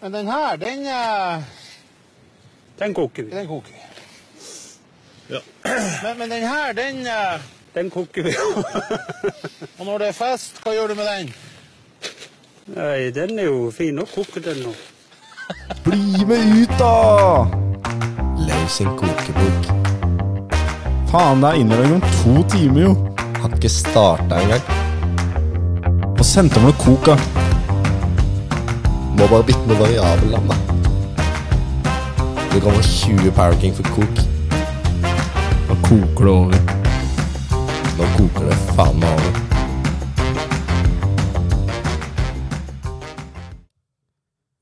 Men den her, den, eh, Den koker vi. den koker vi. Ja. Men, men den her, den eh, Den koker vi. Og når det er fest, hva gjør du med den? Nei, den er jo fin å koke den nå. Bli med ut, da! Løs en kokebok. Faen, det er innlevering om to timer, jo. Har ikke starta engang. Og sendte meg noe coca. Må bare bytte med variabel navn, da. Det kommer 20 Power King for kok. Da koker det over. Nå koker det faen meg over.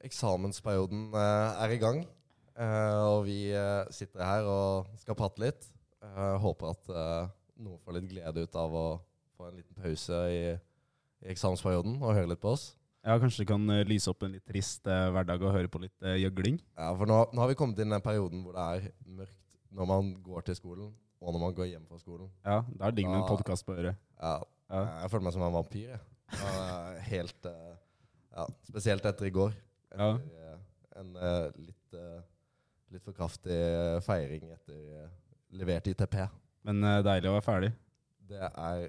Eksamensperioden eh, er i gang, eh, og vi eh, sitter her og skal prate litt. Eh, håper at eh, noen får litt glede ut av å få en liten pause i, i eksamensperioden og høre litt på oss. Ja, kanskje det kan eh, lyse opp en litt trist eh, hverdag og høre på litt eh, gjøgling. Ja, for nå, nå har vi kommet inn i den perioden hvor det er mørkt når man går til skolen, og når man går hjem fra skolen. Ja, da er det digg med en Da- podkast på øret. Ja, Ja. Jeg føler meg som en vampyr, jeg. Og, eh, Helt eh, Ja, spesielt etter i går. Ja. Etter eh, en eh, litt, eh, litt for kraftig eh, feiring etter eh, levert ITP. Men eh, deilig å være ferdig. Det er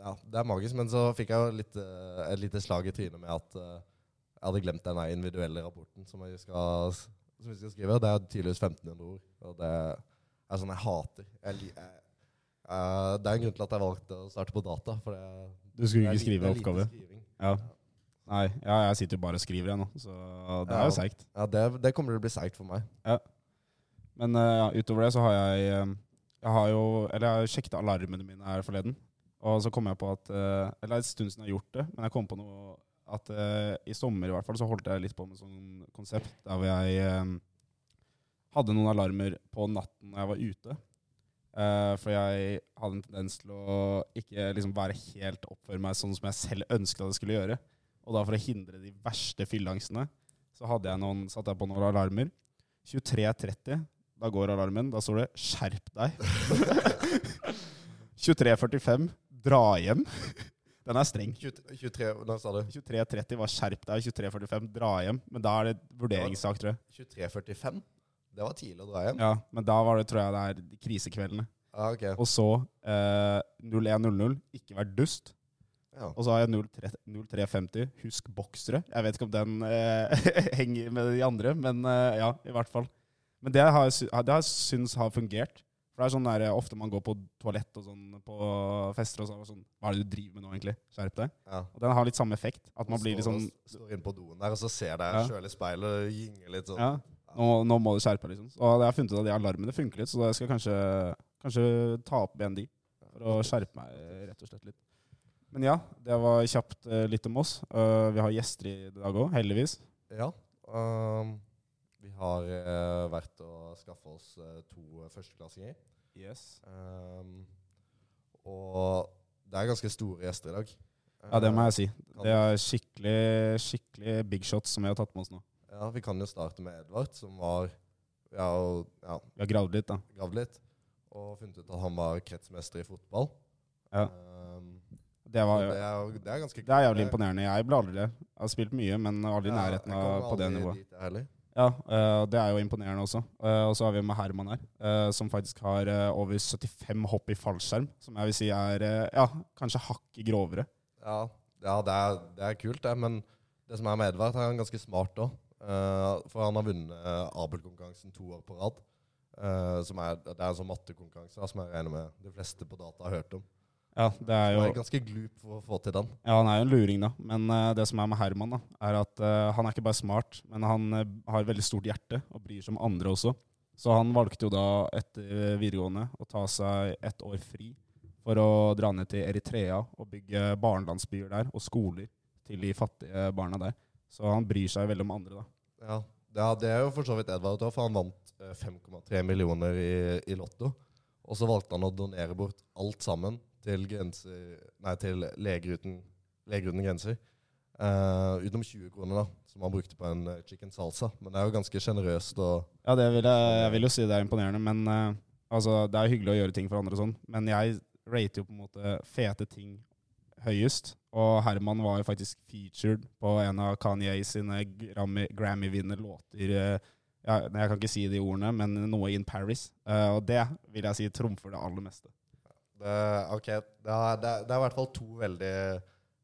Ja, det er magisk, men så fikk jeg jo litt, eh, et lite slag i trynet med at eh, jeg hadde glemt den der individuelle rapporten som vi skal, som vi skal skrive. og Det er tydeligvis 1500 ord. Og det er sånn jeg hater. Jeg, li- jeg, eh, det er en grunn til at jeg valgte å starte på data. For det, Du skulle det ikke er lite- det skrive er lite oppgave. skriving. Ja. Nei, ja, jeg sitter jo bare og skriver, jeg nå, så det er Ja. jo seigt. Ja, det, det kommer til å bli seigt for meg. Men eh, ja, utover det så har jeg eh, Jeg har jo Eller jeg sjekket alarmene mine her forleden, og så kom jeg på at eh, Eller det er en stund siden jeg har gjort det, men jeg kom på noe at eh, i sommer i hvert fall så holdt jeg litt på med sånn konsept der hvor jeg eh, hadde noen alarmer på natten når jeg var ute. Eh, for jeg hadde en tendens til å ikke liksom være helt oppføre meg sånn som jeg selv ønsket at jeg skulle gjøre. Og da for å hindre de verste fylleangstene, så hadde jeg noen, satte jeg på noen alarmer. 23.30, da går alarmen. Da står det 'skjerp deg'. 23.45, dra hjem. Den er streng. 20 23, Nå sa du 23.30 var 'skjerp deg', 23.45 dra hjem. Men da er det vurderingssak, tror jeg. 23.45? Det var tidlig å dra hjem. Ja, Men da var det, tror jeg det er de krisekveldene. Ja, ok. Og så eh, 01.00, ikke vær dust. Ja. Og så har jeg 03 03.50, husk boksere. Jeg vet ikke om den eh, henger med de andre, men eh, ja, i hvert fall. Men det har jeg sy- det har jeg syns har fungert. For det er sånn der, eh, Ofte man går på toalett og sånn på fester og sånn, og sånn Hva er det du driver med nå, egentlig? Skjerp deg. Ja. Og den har litt samme effekt. At man blir litt Står- sånn Står inne på doen der, og så ser deg Ja. sjøl i speilet og gynger litt sånn. Ja, nå, nå må du skjerpe deg, liksom. Og jeg har funnet ut at de alarmene funker litt, så jeg skal kanskje, kanskje ta opp igjen de. For å skjerpe meg eh, rett og slett litt. Men ja, det var kjapt eh, litt om oss. Eh, vi har gjester i dag òg, heldigvis. Ja. ehm, vi har eh, vært og skaffa oss eh, to førsteklassinger. Ehm, og det er ganske store gjester i dag. Ja, det må jeg si. Eh, Kan- Det er skikkelig, skikkelig big shots som vi har tatt med oss nå. Eh, Ja, Vi kan jo starte med Edvard, som var Ja, og, ja Vi har gravd litt, da. gravd litt. Og funnet ut at han var kretsmester i fotball. Ja. Ehm, Det, var, og det, er, jo- det er ganske det er jævlig imponerende. Jeg ble aldri det. Jeg har spilt mye, men aldri i nærheten av på det nivået. Dit, jeg heller. Ja, eh, det er jo imponerende også. Eh, Og så har vi med Herman her, eh, som faktisk har eh, over 75 hopp i fallskjerm. Som jeg vil si er eh, ja, kanskje hakket grovere. Ja, ja det, er, det er kult, det. Men det som er med Edvard, er han ganske smart òg. for han har vunnet eh, Abel-konkurransen to år på rad. Eh, som er, det er en sånn mattekonkurranse da, som jeg regner med de fleste på data har hørt om. Ja, det er Han jo, er ganske glup for å få til den. ja, han er jo en luring, da. Men eh, det som er med Herman, da, er at eh, han er ikke bare smart, men han eh, har veldig stort hjerte og bryr seg om andre også. Så han valgte jo da etter videregående å ta seg ett år fri for å dra ned til Eritrea og bygge barnelandsbyer der og skoler til de fattige barna der. Så han bryr seg veldig om andre, da. Ja, det, er- det er jo for så vidt Edvard òg, for han vant eh, 5,3 millioner i, i Lotto. Og så valgte han å donere bort alt sammen til, grenser, nei, til leger, uten, leger uten grenser. Eh, utenom 20 kroner, da, som han brukte på en eh, chicken salsa. Men det er jo ganske sjenerøst. og- Ja, det vil jeg, jeg vil jo si det er imponerende, men eh, altså, det er hyggelig å gjøre ting for andre og sånn. Men jeg rater jo på en måte fete ting høyest. Og Herman var jo faktisk featured på en av Kanye sine Grammy- Grammy-vinnerlåter. eh, ja, nei, jeg kan ikke si de ordene, men noe in Paris. Eh, og det vil jeg si trumfer det aller meste. Det, ok, det er, det, er, det er i hvert fall to veldig,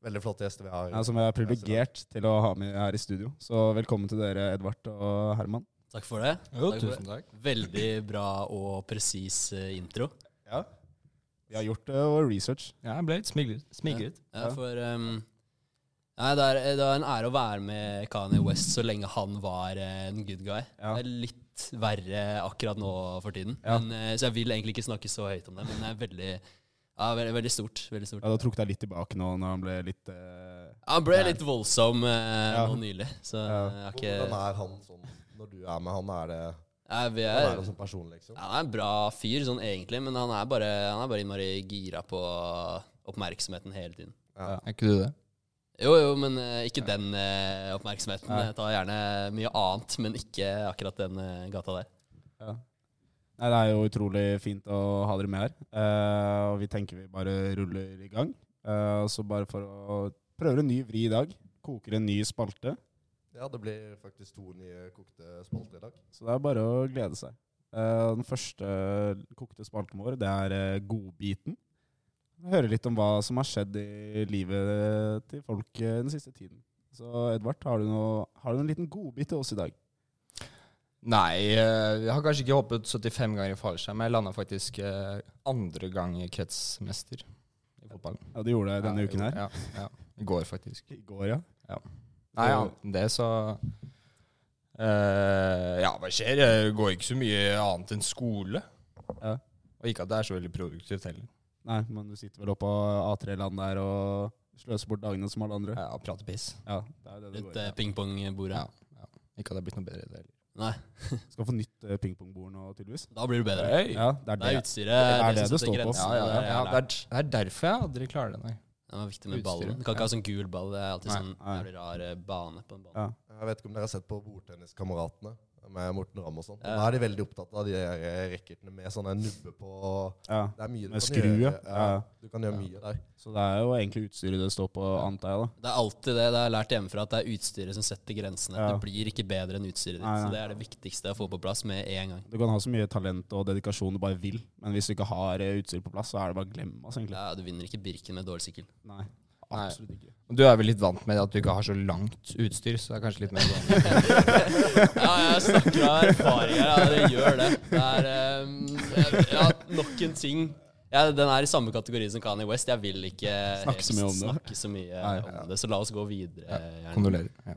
veldig flotte gjester vi har. Ja, som jeg er privilegert til å ha med her i studio. Så velkommen til dere, Edvard og Herman. Takk for det. Jo, Takk for det. tusen takk. Veldig bra og presis eh, intro. Ja. Vi har gjort eh, vår research. Ja, jeg ble litt smigret. smigret. Ja, for ehm, nei, det, er, det er en ære å være med Kanye West så lenge han var eh, en good guy. Ja. Det er litt verre akkurat nå for tiden. Ja. Men, eh, så jeg vil egentlig ikke snakke så høyt om det, men det er veldig, ja, veldig, veldig stort. Veldig stort. Ja, Du trukket deg litt tilbake nå når han ble litt eh, Han ble litt voldsom eh, Ja. nå nylig, så eh, Ja. jeg har Hvordan ikke er han sånn når du er med han? Er det Nei, vi han er er, en sånn person, liksom? Ja, Han er en bra fyr sånn egentlig, men han er bare, han er bare innmari gira på oppmerksomheten hele tiden. Er ikke du det? Jo, jo, men eh, ikke den eh, oppmerksomheten. Jeg tar gjerne mye annet, men ikke akkurat den eh, gata der. Ja. Nei, det er jo utrolig fint å ha dere med her. Eh, og vi tenker vi bare ruller i gang. Eh, og så bare for å prøve en ny vri i dag. Koker en ny spalte. Ja, det blir faktisk to nye kokte spalter i dag. Så det er bare å glede seg. Eh, den første kokte spalten vår, det er eh, godbiten. Høre litt om hva som har skjedd i livet til folk eh, den siste tiden. Så Edvard, har du, noe, har du en liten godbit til oss i dag? Nei, eh, jeg har kanskje ikke hoppet 75 ganger i fallskjerm, men jeg landa faktisk eh, andre gang i kretsmester i fotball. Ja, du gjorde det denne Ja, uken her. Ja, ja. I går, faktisk. I går, ja. Nei, Og- annet enn det, så eh, Ja, hva skjer? Jeg går ikke så mye annet enn skole. Ja. Og ikke at det er så veldig produktivt heller. Nei, men du sitter vel oppe på A3-land der og sløser bort dagene som alle andre. Ja, Prate piss. Ja, det er jo det det Rundt går i. eh, pingpongbordet. Ja. Ikke at det er blitt noe bedre i det heller. Nei, Skal få nytt eh, pingpongbord nå, tydeligvis. da blir det bedre. Hey. Ja, det er Det det. er utstyret. Det er det som det setter står på. Ja, grensene, ja, ja, det ja. er Det, er, det er derfor jeg aldri klarer det, nei. Det er viktig med Utstyret, ballen. Du kan ja. ikke ha sånn gul ball. Det er alltid Nei, sånn nei. jævlig rar eh, bane på en ball. Ja. Jeg vet ikke om dere har sett på Bordtenniskameratene med Morten Ramm og sånn. Ja. Nå er de veldig opptatt av de der racketene med sånne nubber på Ja. Det er mye du Med kan skru, ja. gjøre. Ja. Du kan gjøre mye der. Så det er jo egentlig utstyret det står på, antar jeg, da. Det er alltid det. Det har jeg lært hjemmefra, at det er utstyret som setter grensene. Ja. Det blir ikke bedre enn utstyret ditt. Nei, Så nei. det er det viktigste å få på plass med en gang. Du kan ha så mye talent og dedikasjon du bare vil, men hvis du ikke har eh, utstyr på plass, så er det bare å glemme, altså, egentlig. Ja, du vinner ikke Birken med dårlig sykkel. Nei, absolutt ikke. Og Du er vel litt vant med at du ikke har så langt utstyr, så det er kanskje litt mer vanlig. Ja, jeg snakker av erfaring her. Ja, det gjør det. Det er eh, ja, nok en ting. Ja, den er i samme kategori som Kanye West. Jeg vil ikke Snakke så mye om det. snakke så mye Nei, ja. om det, så la oss gå videre. gjerne. Kondolerer. Ja.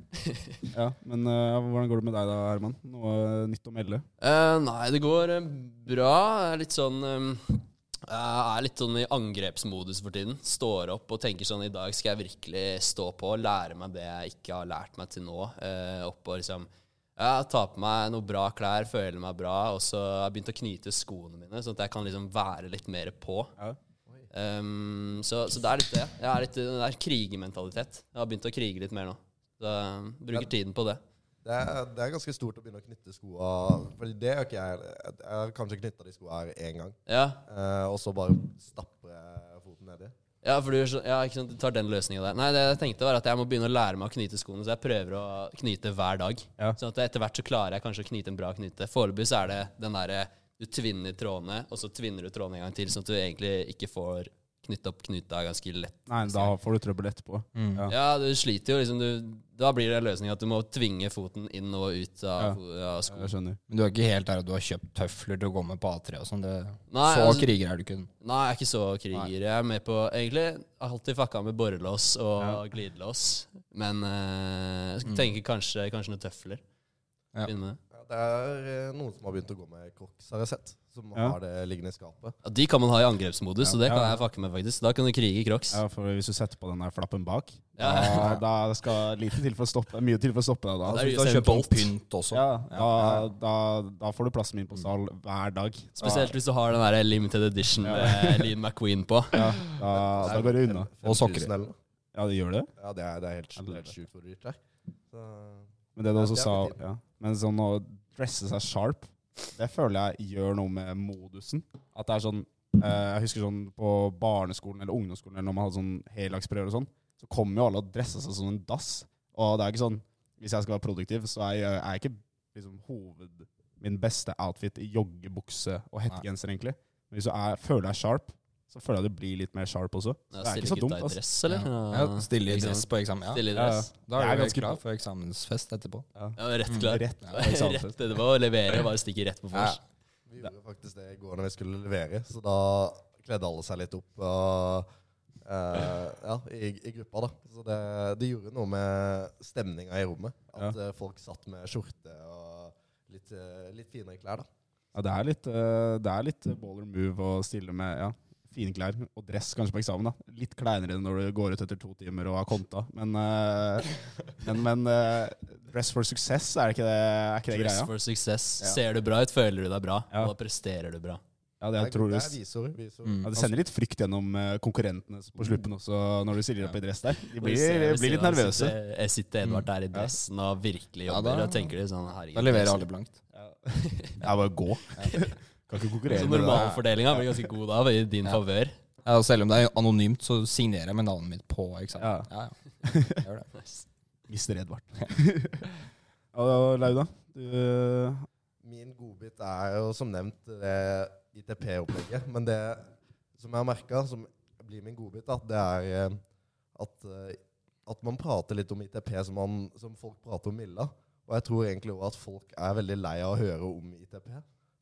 Ja, men eh, hvordan går det med deg da, Herman? Noe eh, nytt å melde? Eh, nei, det går eh, bra. Jeg er litt sånn eh, Jeg er litt sånn i angrepsmodus for tiden. Står opp og tenker sånn I dag skal jeg virkelig stå på og lære meg det jeg ikke har lært meg til nå. Eh, opp og liksom ja, Ta på meg noen bra klær, føler meg bra. Og så har jeg begynt å knyte skoene mine, sånn at jeg kan liksom være litt mer på. Ja. Um, så, så det er litt det. Jeg er litt, det er krigementalitet. Jeg har begynt å krige litt mer nå. Så jeg bruker tiden på det. Det er, det er ganske stort å begynne å knytte skoa. Fordi det gjør ikke jeg. Jeg har kanskje knytta de skoa her én gang, Ja, eh, og så bare stapper jeg foten nedi. Ja, for du, gjør så- ja, ikke sant, du tar den løsninga der. Nei, det jeg tenkte var at jeg må begynne å lære meg å knyte skoene, så jeg prøver å knyte hver dag. Ja. Sånn at etter hvert så klarer jeg kanskje å knyte en bra knyte. Foreløpig så er det den derre du tvinner trådene, og så tvinner du trådene en gang til, sånn at du egentlig ikke får knytt opp knuta ganske lett. Nei, da får du trøbbel etterpå. Ja. Ja, du sliter jo liksom. Du, da blir det løsninga at du må tvinge foten inn og ut av, av skoen. Jeg skjønner. Men du er ikke helt der at du har kjøpt tøfler til å gå med på A3 og sånn. det- Nei, Så altså- kriger er du ikke. Nei, jeg er ikke så kriger. Jeg er med på Egentlig har jeg alltid fucka med borrelås og glidelås. Men eh, jeg tenker kanskje, kanskje noen tøfler. Ja. Begynne med det. Ja, det er eh, noen som har begynt å gå med crocs, har jeg sett. Som Ja. har det liggende i skapet. Ja, de kan man ha i angrepsmodus, så det kan Ja. jeg fucke med, faktisk. Da kan du krige i crocs. Ja, for hvis du setter på den der flappen bak, da, Ja. da skal lite til for å stoppe, mye til for å stoppe deg da. Det er Hvis du jo har selv kjøpt noe bolt. pynt også. Ja, da, da, da får du plassen min på sal hver dag. Spesielt hvis du har den der limited edition med Lean McQueen på. Da, da, da går det unna. Og sokker. 5000 eller noe. Ja, det gjør det. Ja, det er, det er helt, Ja, det er helt sjukt hvor dyrt det er. Så, Men det du Ja, også det er sa litt ja. Men sånn å dresse seg sharp, det føler jeg gjør noe med modusen. At det er sånn Eh, Jeg husker sånn på barneskolen eller ungdomsskolen eller når man hadde sånn heldagsprøver og sånn, så kom jo alle og dressa seg som en dass. Og det er ikke sånn Hvis jeg skal være produktiv, så er jeg, er jeg ikke liksom hoved min beste outfit i joggebukse og hettegenser, egentlig. Men hvis du er, føler deg sharp, så føler jeg du blir litt mer sharp også. Ja, det er ikke stiller så dumt, gutta i altså. dress, eller? Ja, stille i Ikke sant? dress på eksamen. Ja. Stille i dress. Da Jeg er er ganske du ganske klar for eksamensfest etterpå. Ja, rett Mm, klar. Rett, Rett etterpå å levere, bare stikke rett på vors. Vi gjorde faktisk det i går når vi skulle levere, så da kledde alle seg litt opp og, eh, ja, i, i gruppa. da. Så det, det gjorde noe med stemninga i rommet. At eh, folk satt med skjorte og litt, eh, litt finere klær. da. Ja, det er litt, eh, det er litt baller move å stille med ja, fine klær og dress kanskje på eksamen. da. Litt kleinere enn når du går ut etter to timer og har konta. Men, eh, men, men eh, dress for success, er ikke det, er ikke det Dress greia? for success. Ja. Ser du bra ut, føler du deg bra, Ja. og da presterer du bra. Ja, det, Det er- jeg tror Mm. du, det er visord. visord. ja, det sender litt frykt gjennom eh, konkurrentene på slutten også, når du stiller opp i dress der. De Du ser blir, ved blir siden litt av, nervøse. sitter- Jeg sitter Edvard der i dressen og virkelig Ja, jobber, da- og tenker litt sånn herregud. Da leverer alle blankt. Ja, bare gå. Kan ikke konkurrere Så med det. der. normalfordelinga blir ganske god da, i din favør. Ja, og selv om det er anonymt, så signerer jeg med navnet mitt på eksamen. Ja, ja. Gjør det. Mister Edvard. ja, Lauda, du eh, Min godbit er jo som nevnt det ITP-opplegget. Men det som jeg har merka, som blir min godbit, da, det er eh, at, eh, at man prater litt om ITP som, man, som folk prater om Milla. Og jeg tror egentlig også at folk er veldig lei av å høre om ITP.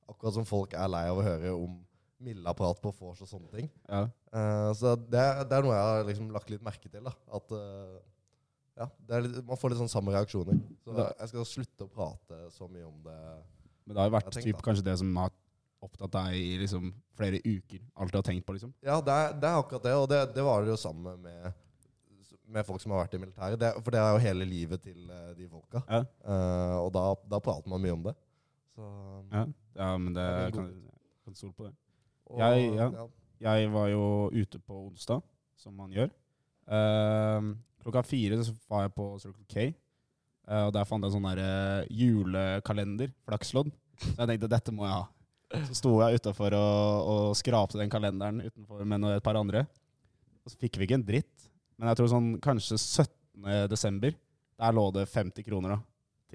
Akkurat som folk er lei av å høre om Milla-prat på vors og sånne ting. ja. Eh, så det, det er noe jeg har liksom lagt litt merke til. da, at... eh, ja, det er litt, Man får litt sånn samme reaksjoner. Så jeg skal slutte å prate så mye om det Men det har jo vært Jeg tenkte typ, at- kanskje det som har opptatt deg i liksom, flere uker. Alt du har tenkt på, liksom. Ja, det er, det er akkurat det, og det, det var det jo sammen med, med folk som har vært i militæret. Det, for det er jo hele livet til eh, de folka. Ja. Eh, og da, da prater man mye om det. Så, Ja, men det Ja, det er kan, god. kan stole på det. og, Jeg- ja. ja. Jeg var jo ute på onsdag, som man gjør. Ehm, klokka fire så var jeg på Circle K. eh, og der fant jeg en sånn der, eh, julekalender, flakslodd. Så jeg tenkte dette må jeg ha. Så sto jeg utafor og, og skrapte den kalenderen utenfor med noe- et par andre. Og så fikk vi ikke en dritt. Men jeg tror sånn kanskje 17. desember, der lå det 50 kroner da,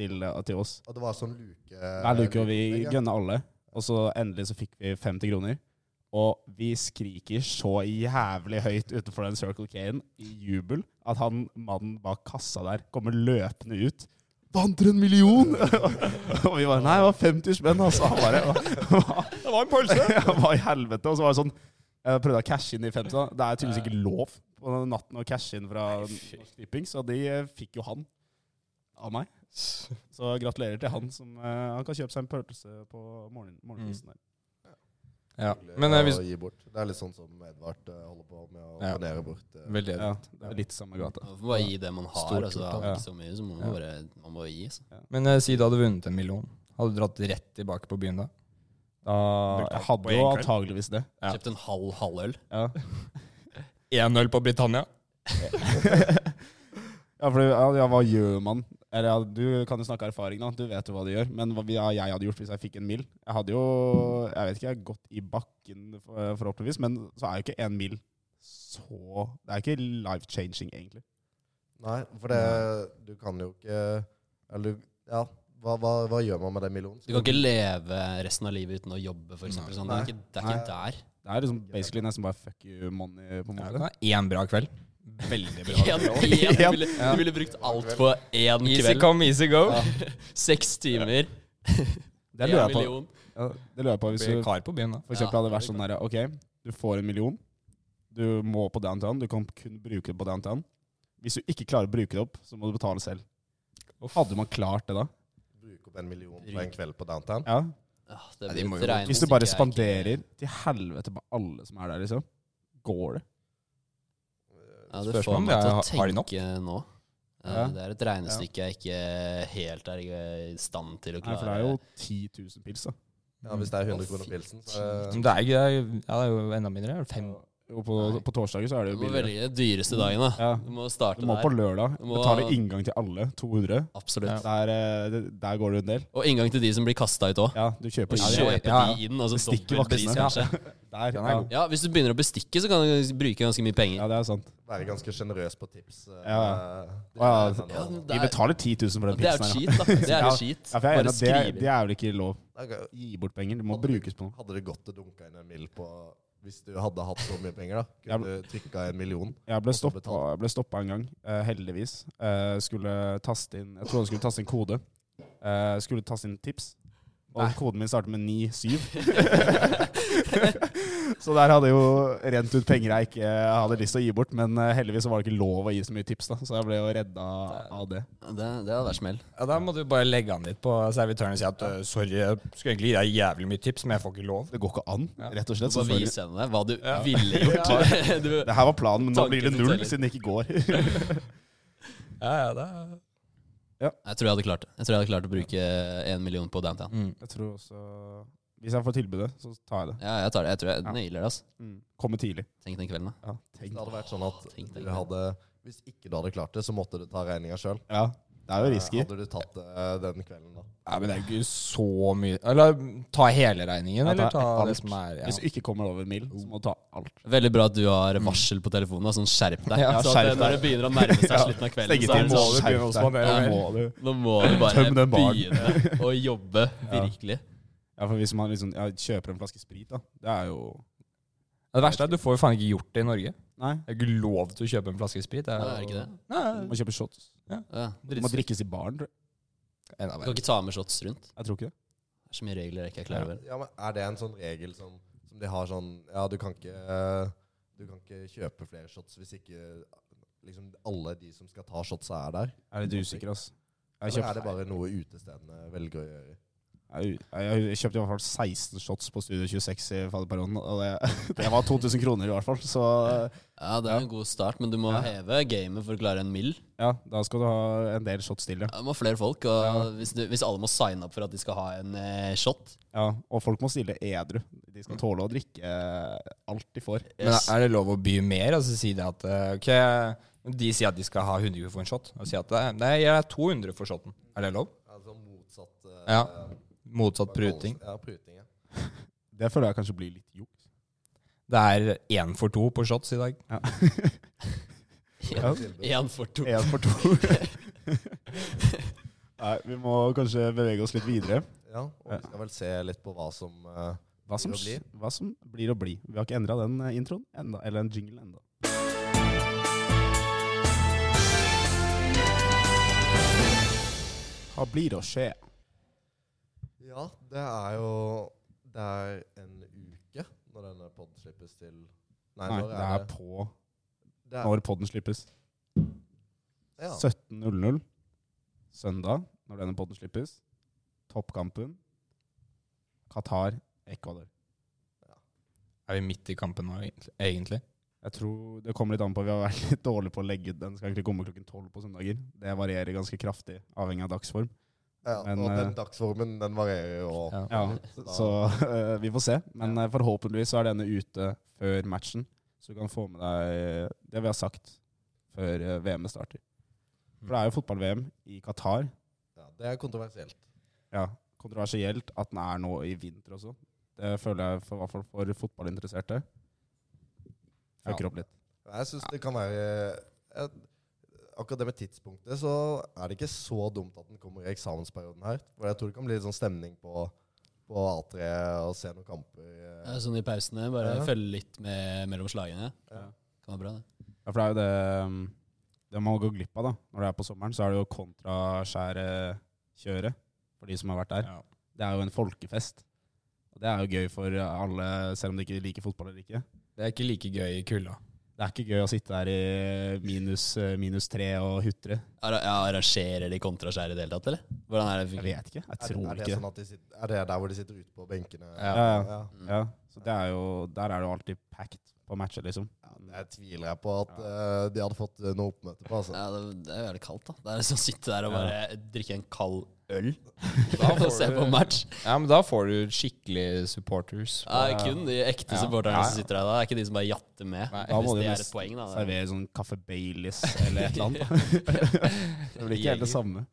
til, eh, til oss. Og det var sånn luke... Hver luke, og vi lukeopplegg, ja. gønna alle. Og så endelig så fikk vi 50 kroner. Og vi skriker så jævlig høyt utenfor den Circle K-en i jubel at han mannen bak kassa der kommer løpende ut. Vant dere en million?! og vi bare Nei, det var 50 spenn, altså. Han bare hva- Det var en pølse! hva- Hva i helvete? Og så var det sånn Jeg prøvde å cashe inn de 50. da. Det er tydeligvis ikke lov på den natten å cashe inn fra Norsk Tipping, så de eh, fikk jo han av meg. Så gratulerer til han som eh, Han kan kjøpe seg en pølse på morgen, morgenkvisten der. Ja. Men eh, hvis Å gi bort. Det er litt sånn som Edvard eh, holder på med å Ja. donere bort. eh. Veldig Ja, det er litt samme gata. Man får bare gi det man har. Stort altså, kult, har man ja. ikke så mye, så må man bare man må gi. altså. Så. Men eh, si du hadde vunnet en million. Hadde du dratt rett tilbake på byen da? Da, jeg hadde jo antageligvis det. Ja. Kjøpt en halv halvøl. Ja, Én øl på Britannia? ja for ja, ja, hva gjør man? Eller, ja, du kan jo snakke erfaring, da. Du vet jo hva du gjør. Men hva vi- ja, jeg hadde gjort hvis jeg fikk en mil Jeg hadde jo Jeg vet ikke, jeg har gått i bakken, for- forhåpentligvis. Men så er jo ikke en mil så Det er ikke life-changing, egentlig. Nei, for det Du kan jo ikke Eller du Ja, hva, hva, hva gjør man med den millionen? Du kan ikke leve resten av livet uten å jobbe, for eksempel. Sånn. Det er ikke, det er ikke der. Det er liksom basically nesten bare fuck you money, på en Ja, måte. du kan ha én bra kveld. Veldig bra. En, en, du, ville, du ville brukt alt på én Easy kveld. come, easy go. Seks timer, Det én lurer jeg på, million. ja, det lurer jeg på hvis Blir du kar på byen da. For eksempel Ja, hadde det vært det er sånn der, ok, du får en million, du må på downtown, du kan kun bruke det på downtown. Hvis du ikke klarer å bruke det opp, så må du betale selv. Hadde man klart det da? Bruke opp en million på en kveld på downtown? Ja. Ah, det Nei, blir de må et jo- regnestykke Hvis du bare jeg ikke- spanderer til helvete på alle som er der, liksom. Går det? Ja, det Spørs får om meg det til å er- har de nok? tenke nå. Eh, Ja. Det er et regnestykke jeg ikke helt er i stand til Nei, å klare. for det er jo 10 000 pils da. Ja, hvis det er 100 kroner pilsen, så er det Eh, Men det er, ikke- ja, det er jo enda mindre. er det Fem, Jo, på, på torsdager så er det Du jo må billigere. velge den dyreste dagen, da. Ja. Du må starte Du må på der. lørdag. Du må- Betale inngang til alle. 200. Absolutt. Der, eh, det- der går det en del. Og inngang til de som blir kasta ut òg. Ja, du kjøper Og Ja, inn. det- kjøpe ja, ja. de inn, og så Bestikke dobbel pris, vaktene. kanskje. Der, Den er ja. god. Ja, hvis du begynner å bestikke, så kan du bruke ganske mye penger. ja, det er sant. Være ganske sjenerøs på tips. eh, Ja. eh, Ja, altså. det er- Ja, Vi men det er- betaler 10 000 for den Det er jo pizzaen. her, cheat, da. Det er Ja. litt cheat. Ja, for jeg er enig, i Bare at det, skriv det er vel ikke lov det er gøy. å gi bort penger. Det må brukes på noe. Hadde det gått å dunke inn en mil på Hvis du hadde hatt så mye penger, da. Ja, Kunne du trykka en million? Jeg ble Og så stoppa, jeg ble stoppa en gang, eh, heldigvis. Eh, skulle taste inn Jeg trodde jeg skulle taste inn kode. Eh, skulle taste inn tips. Og koden min starter med 97. så der hadde jo rent ut penger jeg ikke hadde lyst til å gi bort. Men eh, heldigvis så var det ikke lov å gi så mye tips, da så jeg ble jo redda av det. Det, det hadde vært smell. Ja, Da må du bare legge han litt på servitøren og si at eh, sorry, jeg skulle egentlig gi deg jævlig mye tips, men jeg får ikke lov. Det går ikke an, rett og slett. Du må selvfølgelig. vise henne hva du ville gjort. Du, Det her var planen, men nå Tanken blir det som null teller. siden det ikke går. Ja, ja, det er... jeg tror jeg hadde klart det. Jeg tror jeg hadde klart å bruke en million på downtown. Jeg tror også Hvis jeg får tilbudet, så tar jeg det. Ja, jeg tar det. Jeg tror jeg nailer det. altså. Komme tidlig. Tenk den kvelden, da. Ja, Det tenk. hadde vært sånn at Tenk deg du det. hadde Hvis ikke du hadde klart det, så måtte du ta regninga sjøl. ja, det er jo risky. Hadde du tatt det eh, den kvelden, da? Ja, men det er jo ikke så mye Eller ta hele regningen, Ja, eller ta ta alt. det som er ja. Hvis du ikke kommer over mil, så må du ta alt. Veldig bra at du har varsel på telefonen. da, Sånn skjerp deg. Ja, så at skjerp det- når det begynner å nærme seg slutten av kvelden, så er det sånn Skjerp begynne å deg. spandere Ja, mer. må du. Nå må du bare Tøm den baren. begynne å jobbe. Virkelig. Ja, for hvis man liksom ja, kjøper en flaske sprit, da, det er jo Det verste er at du får jo faen ikke gjort det i Norge. Nei, Det er ikke lov til å kjøpe en flaske sprit. Det Ja, er, er det ikke det? Nei, du må kjøpe shots. Ja. Det må drikkes i baren, tror jeg. Du Enda kan verre. ikke ta med shots rundt. Jeg tror ikke det. Det er så mye regler jeg ikke er klar over. Ja, men Er det en sånn regel som, som de har sånn Ja, du kan ikke eh, Du kan ikke kjøpe flere shots hvis ikke liksom alle de som skal ta shots, er der? Jeg er litt usikker, ass. Jeg Eller er det kjøpte, bare noe utestedene velger å gjøre? jeg, jeg, jeg kjøpte i hvert fall 16 shots på Studio 26 i fadderperioden, og det, det var 2000 kroner i hvert fall, så Ja, Det er en god start, men du må heve gamet for å klare en mill. ja, da skal du ha en del shots til, ja. Ja, Du må ha flere folk. Og hvis, du, hvis alle må signe opp for at de skal ha en eh, shot ja. Og folk må stille edru. De skal tåle å drikke eh, alt de får. Men yes. er det lov å by mer? Altså si det at eh, Ok, de sier at de skal ha 100 for en shot. Og sier at det er- nei, jeg er 200 for shoten. Er det lov? Altså motsatt eh, Ja. Motsatt pruting. Ja, pruting, ja. Det føler jeg kanskje blir litt juks. Det er én for to på shots i dag. Ja. Én for to. Én for to. Nei, vi må kanskje bevege oss litt videre. ja. Og vi skal vel se litt på hva som eh, Hva som, Blir å hva som blir å bli. Vi har ikke endra den eh, introen enda, eller den jinglen enda. Hva blir å skje? Ja, det er jo Det er en uke når denne podden slippes til Nei, Nei, når det er på det er, når podden slippes. ja. 17.00 søndag, når denne podden slippes. Toppkampen. Qatar, Ecuador. Er vi midt i kampen nå, egentlig- egentlig? Jeg tror Det kommer litt an på. Vi har vært litt dårlige på å legge ut den. Skal egentlig komme klokken tolv på søndager. Det varierer ganske kraftig, avhengig av dagsform. ja, men, og eh, den dagsformen, den varierer jo. Ja. Ja, så eh, vi får se. Men eh, forhåpentligvis så er denne ute før matchen. Så du kan få med deg det vi har sagt før eh, VM starter. For det er jo fotball-VM i Qatar. Ja, det er kontroversielt. Ja, Kontroversielt at den er nå i vinter også. Det føler jeg for, i hvert fall for fotballinteresserte. Fucker opp litt. Jeg syns det kan være jeg, Akkurat det med tidspunktet, så er det ikke så dumt at den kommer i eksamensperioden her. For jeg tror det kan bli litt sånn stemning på, på A3 og se noen kamper. eh. Ja, Sånn i pausene. Bare Ja. følge litt med mellom slagene. Ja. Kan være bra, det. Ja, for det er jo det um, det man går glipp av da. Når det er på sommeren, så er det jo kontraskjærekjøret for de som har vært der. Ja. Det er jo en folkefest. Og det er jo gøy for alle, selv om de ikke liker fotball eller ikke. Det er ikke like gøy i kulda. Det er ikke gøy å sitte der i minus, eh, minus tre og hutre. Arra- ja, Arrangerer de kontraskjær i det hele tatt, eller? Hvordan er det? Jeg vet ikke. Jeg Er, tror er, det ikke det. sånn at de sitter, er det der hvor de sitter ute på benkene? Ja. Ja, ja. ja. ja. Så det er jo, der er det jo alltid packed på matcher, liksom. Jeg tviler jeg på at eh, de hadde fått eh, noe oppmøte på. Altså. Ja, det, det er jo jævlig kaldt, da. Det er liksom å sitte der og bare drikke en kald øl. å se på match. Ja, men da får du skikkelig supporters. på- Ja, kun de ekte Ja. supporterne Ja, ja. som sitter der. da. Det er ikke de som bare jatter med. Nei, da må hvis de det er nesten et poeng, da. Servere sånn kaffe Baileys eller et eller annet. det blir ikke sånn. helt det samme.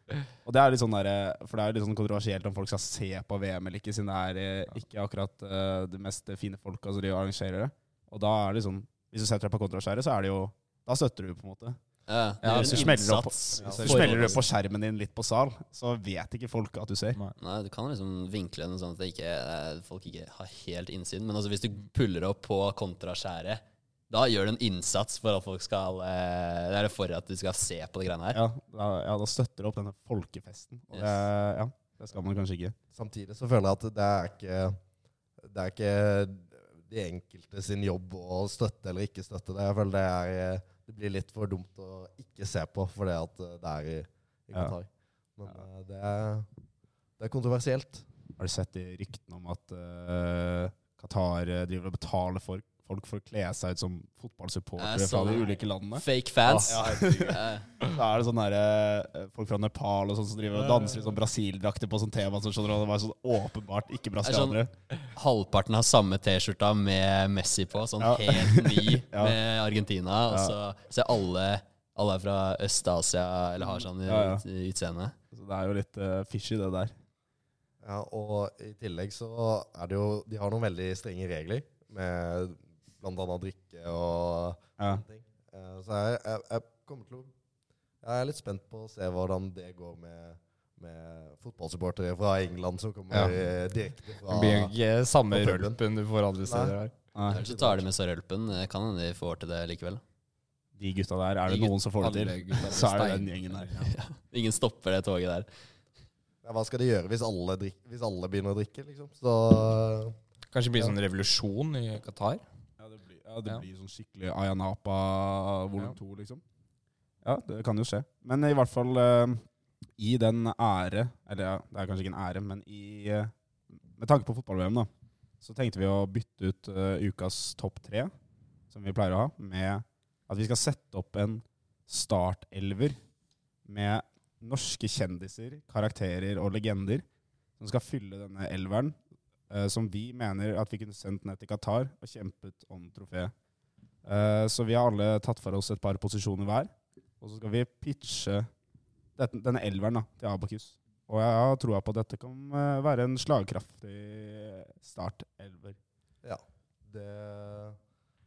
Og det er litt sånn der, eh, For det er jo litt sånn kontroversielt om folk skal se på VM eller ikke, siden det er eh, ikke akkurat eh, de mest fine folka som de arrangerer det. Og da er det liksom Hvis du setter deg på kontraskjæret, så er det jo Da støtter du, på en måte. Ja, Ja, gjør så en smeller det opp. innsats Hvis for- du smeller det på skjermen din litt på sal, så vet ikke folk at du ser. Nei, du kan liksom vinkle den sånn at det ikke, eh, folk ikke har helt innsyn. Men altså, hvis du puller opp på kontraskjæret, da gjør du en innsats for at folk skal eh, Det er for at du skal se på de greiene her. Ja, da, ja, da støtter du opp denne folkefesten. Og det, er- ja, det skal man kanskje ikke. Samtidig så føler jeg at det er ikke Det er ikke de enkelte sin jobb å støtte eller ikke støtte det. Jeg føler det er eh, Det blir litt for dumt å ikke se på fordi at eh, det er i, i Ja. Qatar. Men eh, det er, det er kontroversielt. Har du sett de ryktene om at eh, Qatar eh, driver og betaler for folk for å kle seg ut som Jeg fotballsupportere så fra de det. ulike landene? Fake fans. Ja, Eh, Da er det sånne der, eh, folk fra Nepal og sånn som driver og danser i sånn Brasil-drakter på sånn tema. Så skjønner du, og det var sånn åpenbart ikke brasilianere. halvparten har samme T-skjorta med Messi på, sånn Ja. helt ny Ja. med Argentina. Og Ja. så ser alle alle er fra Øst-Asia eller har sånn Ja, ja. ut- utseende. Så det er jo litt eh, fishy, det der. Ja, og i tillegg så er det jo De har noen veldig strenge regler med blant annet drikke og Ja. sånne ting. Eh, Så jeg, jeg, jeg kommer til å Jeg er litt spent på å se hvordan det går med, med fotballsupportere fra England som kommer Ja. eh, direkte fra Det blir jo ikke samme På puben. rølpen du får andre steder her. Nei, Kanskje tar de med seg rølpen. Det Kan hende de får til det likevel. de gutta der, er det De gut- noen som får det alle til, gutta er så er det stein. den gjengen der. Ingen stopper det toget der. Ja, Hva skal de gjøre hvis alle, drikk, hvis alle begynner å drikke, liksom? Så Kanskje det blir Ja. sånn revolusjon i Qatar? Ja, det blir, ja, det Ja. blir sånn skikkelig Ayanapa volum 2, liksom. Ja, det kan jo skje. Men i hvert fall eh, i den ære Eller ja, det er kanskje ikke en ære, men i eh, Med tanke på fotball-VM, da, så tenkte vi å bytte ut eh, ukas topp tre, som vi pleier å ha, med at vi skal sette opp en startelver med norske kjendiser, karakterer og legender som skal fylle denne elveren eh, som vi mener at vi kunne sendt ned til Qatar og kjempet om trofeet. Eh, så vi har alle tatt for oss et par posisjoner hver, og så skal vi pitche dette, denne elveren da, til Abakus. Og jeg har troa på at dette kan eh, være en slagkraftig startelver. ja. Det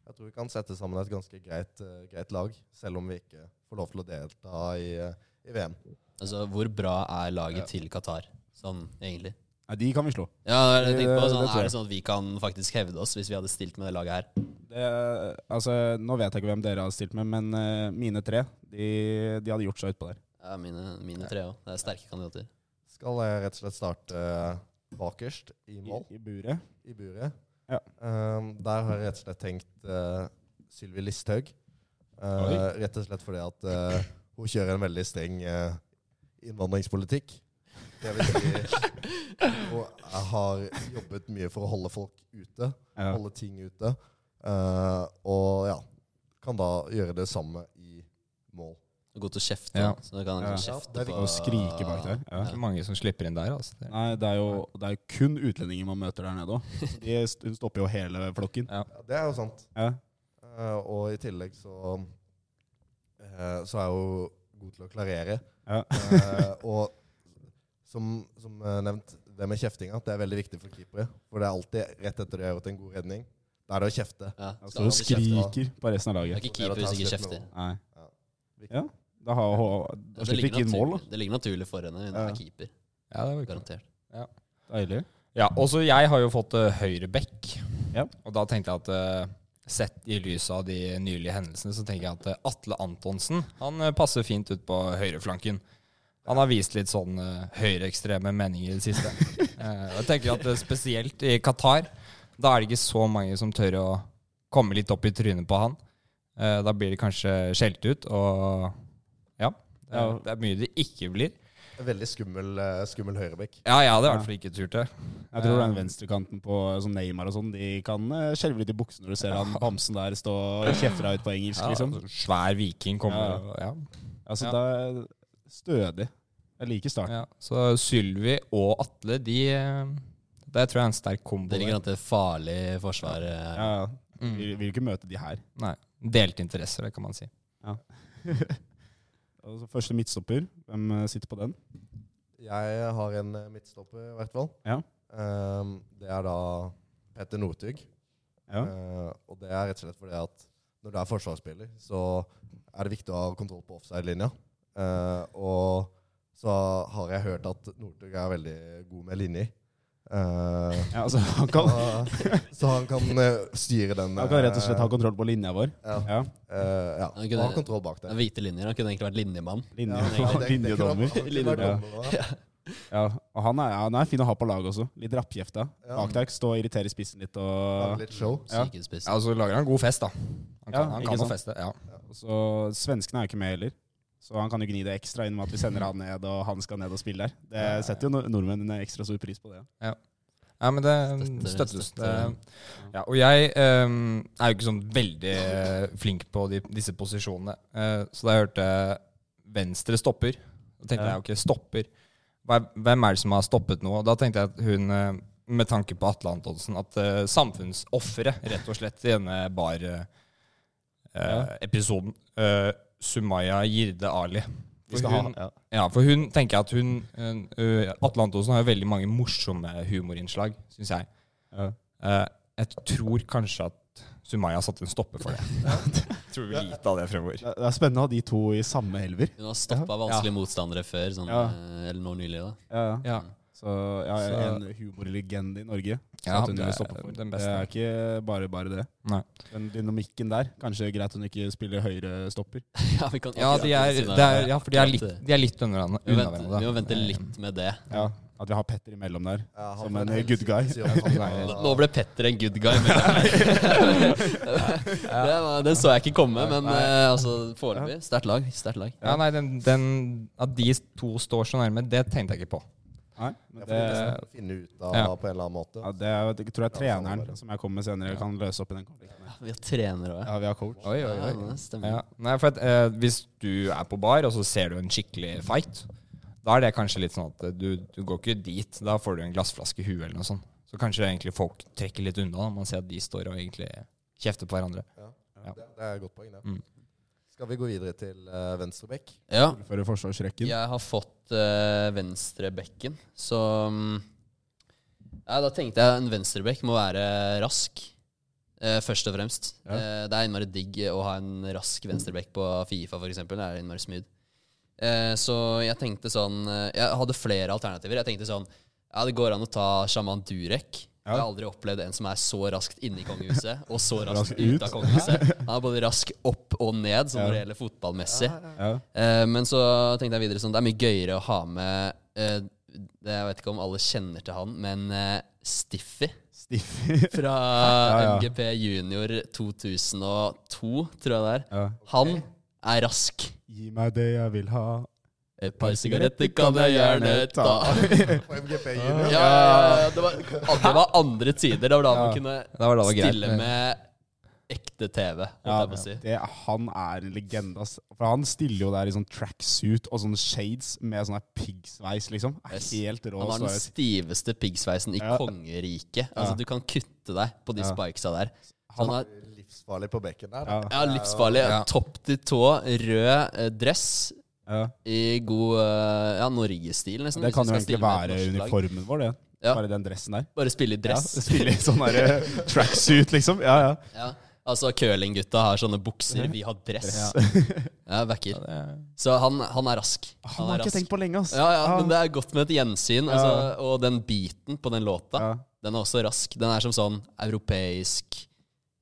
Jeg tror vi kan sette sammen et ganske greit, eh, greit lag, selv om vi ikke får lov til å delta i, eh, i VM. Altså, hvor bra er laget til Qatar? Sånn, egentlig. Nei, de kan vi slå. Ja, det er det jeg tenkte på. Det- Sånn, det tror er jeg. det sånn at vi kan faktisk hevde oss hvis vi hadde stilt med det laget her? Det, altså, nå vet jeg ikke hvem dere har stilt med, men eh, mine tre de, de hadde gjort seg utpå der. Ja, mine, mine tre òg. Det er sterke kandidater. skal jeg rett og slett starte eh, bakerst i I, mål, i buret. i buret. Ja. Ehm, der har jeg rett og slett tenkt uh, Sylvi Listhaug. Eh, Oi. rett og slett fordi at eh, hun kjører en veldig streng eh, innvandringspolitikk. Det vil si hun har jobbet mye for å holde folk ute, Ja. holde ting ute. Eh, og ja, kan da gjøre det samme i mål. God til å kjefte. Ja. Så du kan Ja. Ja, det liksom kjefte er på Og skrike bak der. Ja. Det er ikke mange som slipper inn der, altså. Det- Nei, det er jo, det er jo kun utlendinger man møter der nede òg. Hun stopper jo hele flokken. Ja, det er jo sant. Ja. Eh, og i tillegg så eh, Så er hun god til å klarere. Ja. Eh, og som, som eh, nevnt, det med kjeftinga det er veldig viktig for keepere. For det er alltid rett etter de har gjort en god redning. Da er det å kjefte. Ja, Altså, hun skal aldri kjefte. skriker på resten av Det er laget. ikke keeper hvis ikke kjefter. Nei. Viktig. Ja, da, har, hun- da Det slipper ligger ikke inn mål, naturlig- Det ligger naturlig for henne. Hun Ja. er keeper, Ja, det var ikke garantert. da. Deilig. Ja, også jeg har jo fått uh, høyreback. Ja. Og da tenkte jeg at eh, sett i lys av de nylige hendelsene, så tenker jeg at eh, Atle Antonsen han eh, passer fint ut på høyreflanken. Han har vist litt sånn eh, høyreekstreme meninger i det siste. Eh, og jeg tenker at eh, spesielt i Qatar, da er det ikke så mange som tør å komme litt opp i trynet på han. Eh, da blir de kanskje skjelt ut, og ja. Det er, Ja. det er mye det ikke blir. En Veldig skummel, eh, skummel høyrebekk. Ja, jeg hadde i hvert fall ikke turt det. Jeg tror den venstrekanten på som Neymar og sånn, de kan eh, skjelve litt i buksene når du ser han bamsen der stå og kjefte deg ut på engelsk, Ja, liksom. Svær viking kommer Ja. og ja. Altså, Ja. det er stødig. Jeg liker starten. Ja, så Sylvi og Atle, de eh, Det tror jeg er en sterk kombo. Det ligger der. an til farlig forsvar. Ja. Mm. eh. Ja, Vi vil ikke møte de her. Nei, Delte interesser, det kan man si. Og så første midtstopper, hvem eh, sitter på den? Jeg har en eh, midtstopper, i hvert fall. Ja. Ehm, det er da Petter Northug. Ja. Eh, og det er rett og slett fordi at når du er forsvarsspiller, så er det viktig å ha kontroll på offside-linja. Eh, og så har jeg hørt at Northug er veldig god med linjer. Eh, Ja, altså, han, kan, og- så han kan eh, styre den han kan rett og slett ha eh, kontroll på linja vår. Ja. Ja, eh, ja. Han kunne- Og ha kontroll bak Det er der. Hvite linjer. Han kunne egentlig vært linjemann. linja, Ja, det- det- det kunne han- Linjedommer. han kunne vært Ja. dommer også. Ja, og han er, ja, han er fin å ha på laget også. Litt rappkjefta. Ja. Bak der, stå og irritere spissen litt. Lage Og, Litt show. Ja. Sykespiss. Ja, Så lager han god fest, da. Han kan, Ja, han ikke kan få sant? feste. ja. og så, svenskene er jo ikke med heller, så han kan jo gni det ekstra inn med at vi sender han ned, og han skal ned og spille der. Det setter jo nor- nordmennene ekstra stor pris på det. Ja, men det Støtter, støttes. støtter. Det. Ja, og jeg ehm, er jo ikke sånn veldig flink på de, disse posisjonene. Eh, så da jeg hørte venstre stopper, da tenkte Ja. jeg ok, stopper. Hva- Hvem er det som har stoppet noe? Da tenkte jeg at hun, eh, med tanke på Atle Antonsen, at uh, samfunnsofferet, rett og slett, i denne eh, bar-episoden, eh, Sumaya Girde Ali Vi skal hun, ha- ja. ja, for hun tenker jeg at hun eh, ø, Atle Antonsen har jo veldig mange morsomme humorinnslag, syns jeg. Ja. Eh, jeg tror kanskje at Sumaya har satt en stopper for det. tror vi lite av det fremover. Det det er spennende å ha de to i samme elver. Hun har stoppa vanskelige motstandere før, sånn, Ja. eh, eller nå nylig. da. Ja, ja. Ja. Så ja, Så- en humorlegende i Norge. Ja, at hun det vil er stoppe for. den Det beste. er ikke bare bare det. Nei. Den dynamikken der. Kanskje greit hun ikke spiller høyre stopper. Ja, vi kan Ja, akkurat de er, si det. det er, ja, for de er Akkurat litt, det. de er litt under hverandre- Vi må unna vente, hverandre. vi må vente litt med det. Ja. At vi har Petter imellom der. Ja, han Som får en helt good guy. sinnssykt jobb. Nei, Nå ble Petter en good guy. Men det, var, den så jeg ikke komme, men eh, altså, foreløpig sterkt lag. Sterkt lag. Ja, nei, den, den, at de to står så nærme, det tenkte jeg ikke på. Nei, men Jeg det, får liksom finne ut av Ja. på en eller annen måte. ja, det er, jo- jeg tror jeg Ja, sånn treneren bare. som jeg kommer med senere, kan løse opp i den konflikten. her. Vi har trenere òg. Ja, vi har coach. Oi, oi, Ja, det stemmer. Ja. Nei, for at, eh, hvis du er på bar, og så ser du en skikkelig fight, da er det kanskje litt sånn at eh, du, du går ikke dit. Da får du en glassflaske i huet eller noe sånt. Så kanskje egentlig folk trekker litt unna når man ser at de står og egentlig kjefter på hverandre. Det, det er et godt poeng, det. Mm. Skal vi gå videre til uh, venstrebekk? Ja, Fullføre forsvarsrekken. jeg har fått eh, venstre bekken, så mm, ja, Da tenkte jeg en venstrebekk må være rask, eh, først og fremst. Eh, det er innmari digg å ha en rask venstrebekk på Fifa, f.eks. Det er innmari smooth. Eh, så jeg tenkte sånn eh, Jeg hadde flere alternativer. Jeg tenkte sånn Ja, det går an å ta sjaman Durek. Jeg har aldri opplevd en som er så raskt inne i kongehuset og så raskt Raskt ut. ut av kongehuset. Han er både rask opp og ned, sånn når det gjelder fotballmessig. Ja. Eh, men så tenkte jeg videre sånn, det er mye gøyere å ha med eh, det, Jeg vet ikke om alle kjenner til han, men eh, Stiffy Stiff. fra ja. MGP Junior 2002, tror jeg det er. Ja. Han er rask. Gi meg det jeg vil ha. Et par sigaretter kan jeg gjerne ta. På MGP junior. Ja, ja, ja, det, var, det var andre tider. Da var det han Ja. kunne Da var det greit. stille med ekte TV, holdt Ja, jeg på å si. det, han er en legende, ass. For han stiller jo der i sånn tracksuit og sånne shades med sånn her piggsveis, liksom. Er Yes. Helt rå. Han har den sveis. stiveste piggsveisen i Ja. kongeriket. Altså, du kan kutte deg på de Ja. spikesa der. Så Han han er Livsfarlig på bekken der. Ja. Ja, livsfarlig. Topp til tå, rød eh, dress Ja. i god eh, ja, norgesstil, nesten. Det hvis kan vi jo skal egentlig stille med være et norsk lag. uniformen vår, det. Ja. Bare den dressen der. Bare spille i dress. Ja, spille i sånn der eh, tracksuit, liksom. Ja, ja. Ja. Altså, curlinggutta har sånne bukser, vi har dress. Ja, vekker. Så han, han er rask. Ah, Han har jeg ikke tenkt på Ah. lenge, ass. Ja, ja, men det er godt med et gjensyn. Altså, og den beaten på den låta, Ja. den er også rask. Den er som sånn europeisk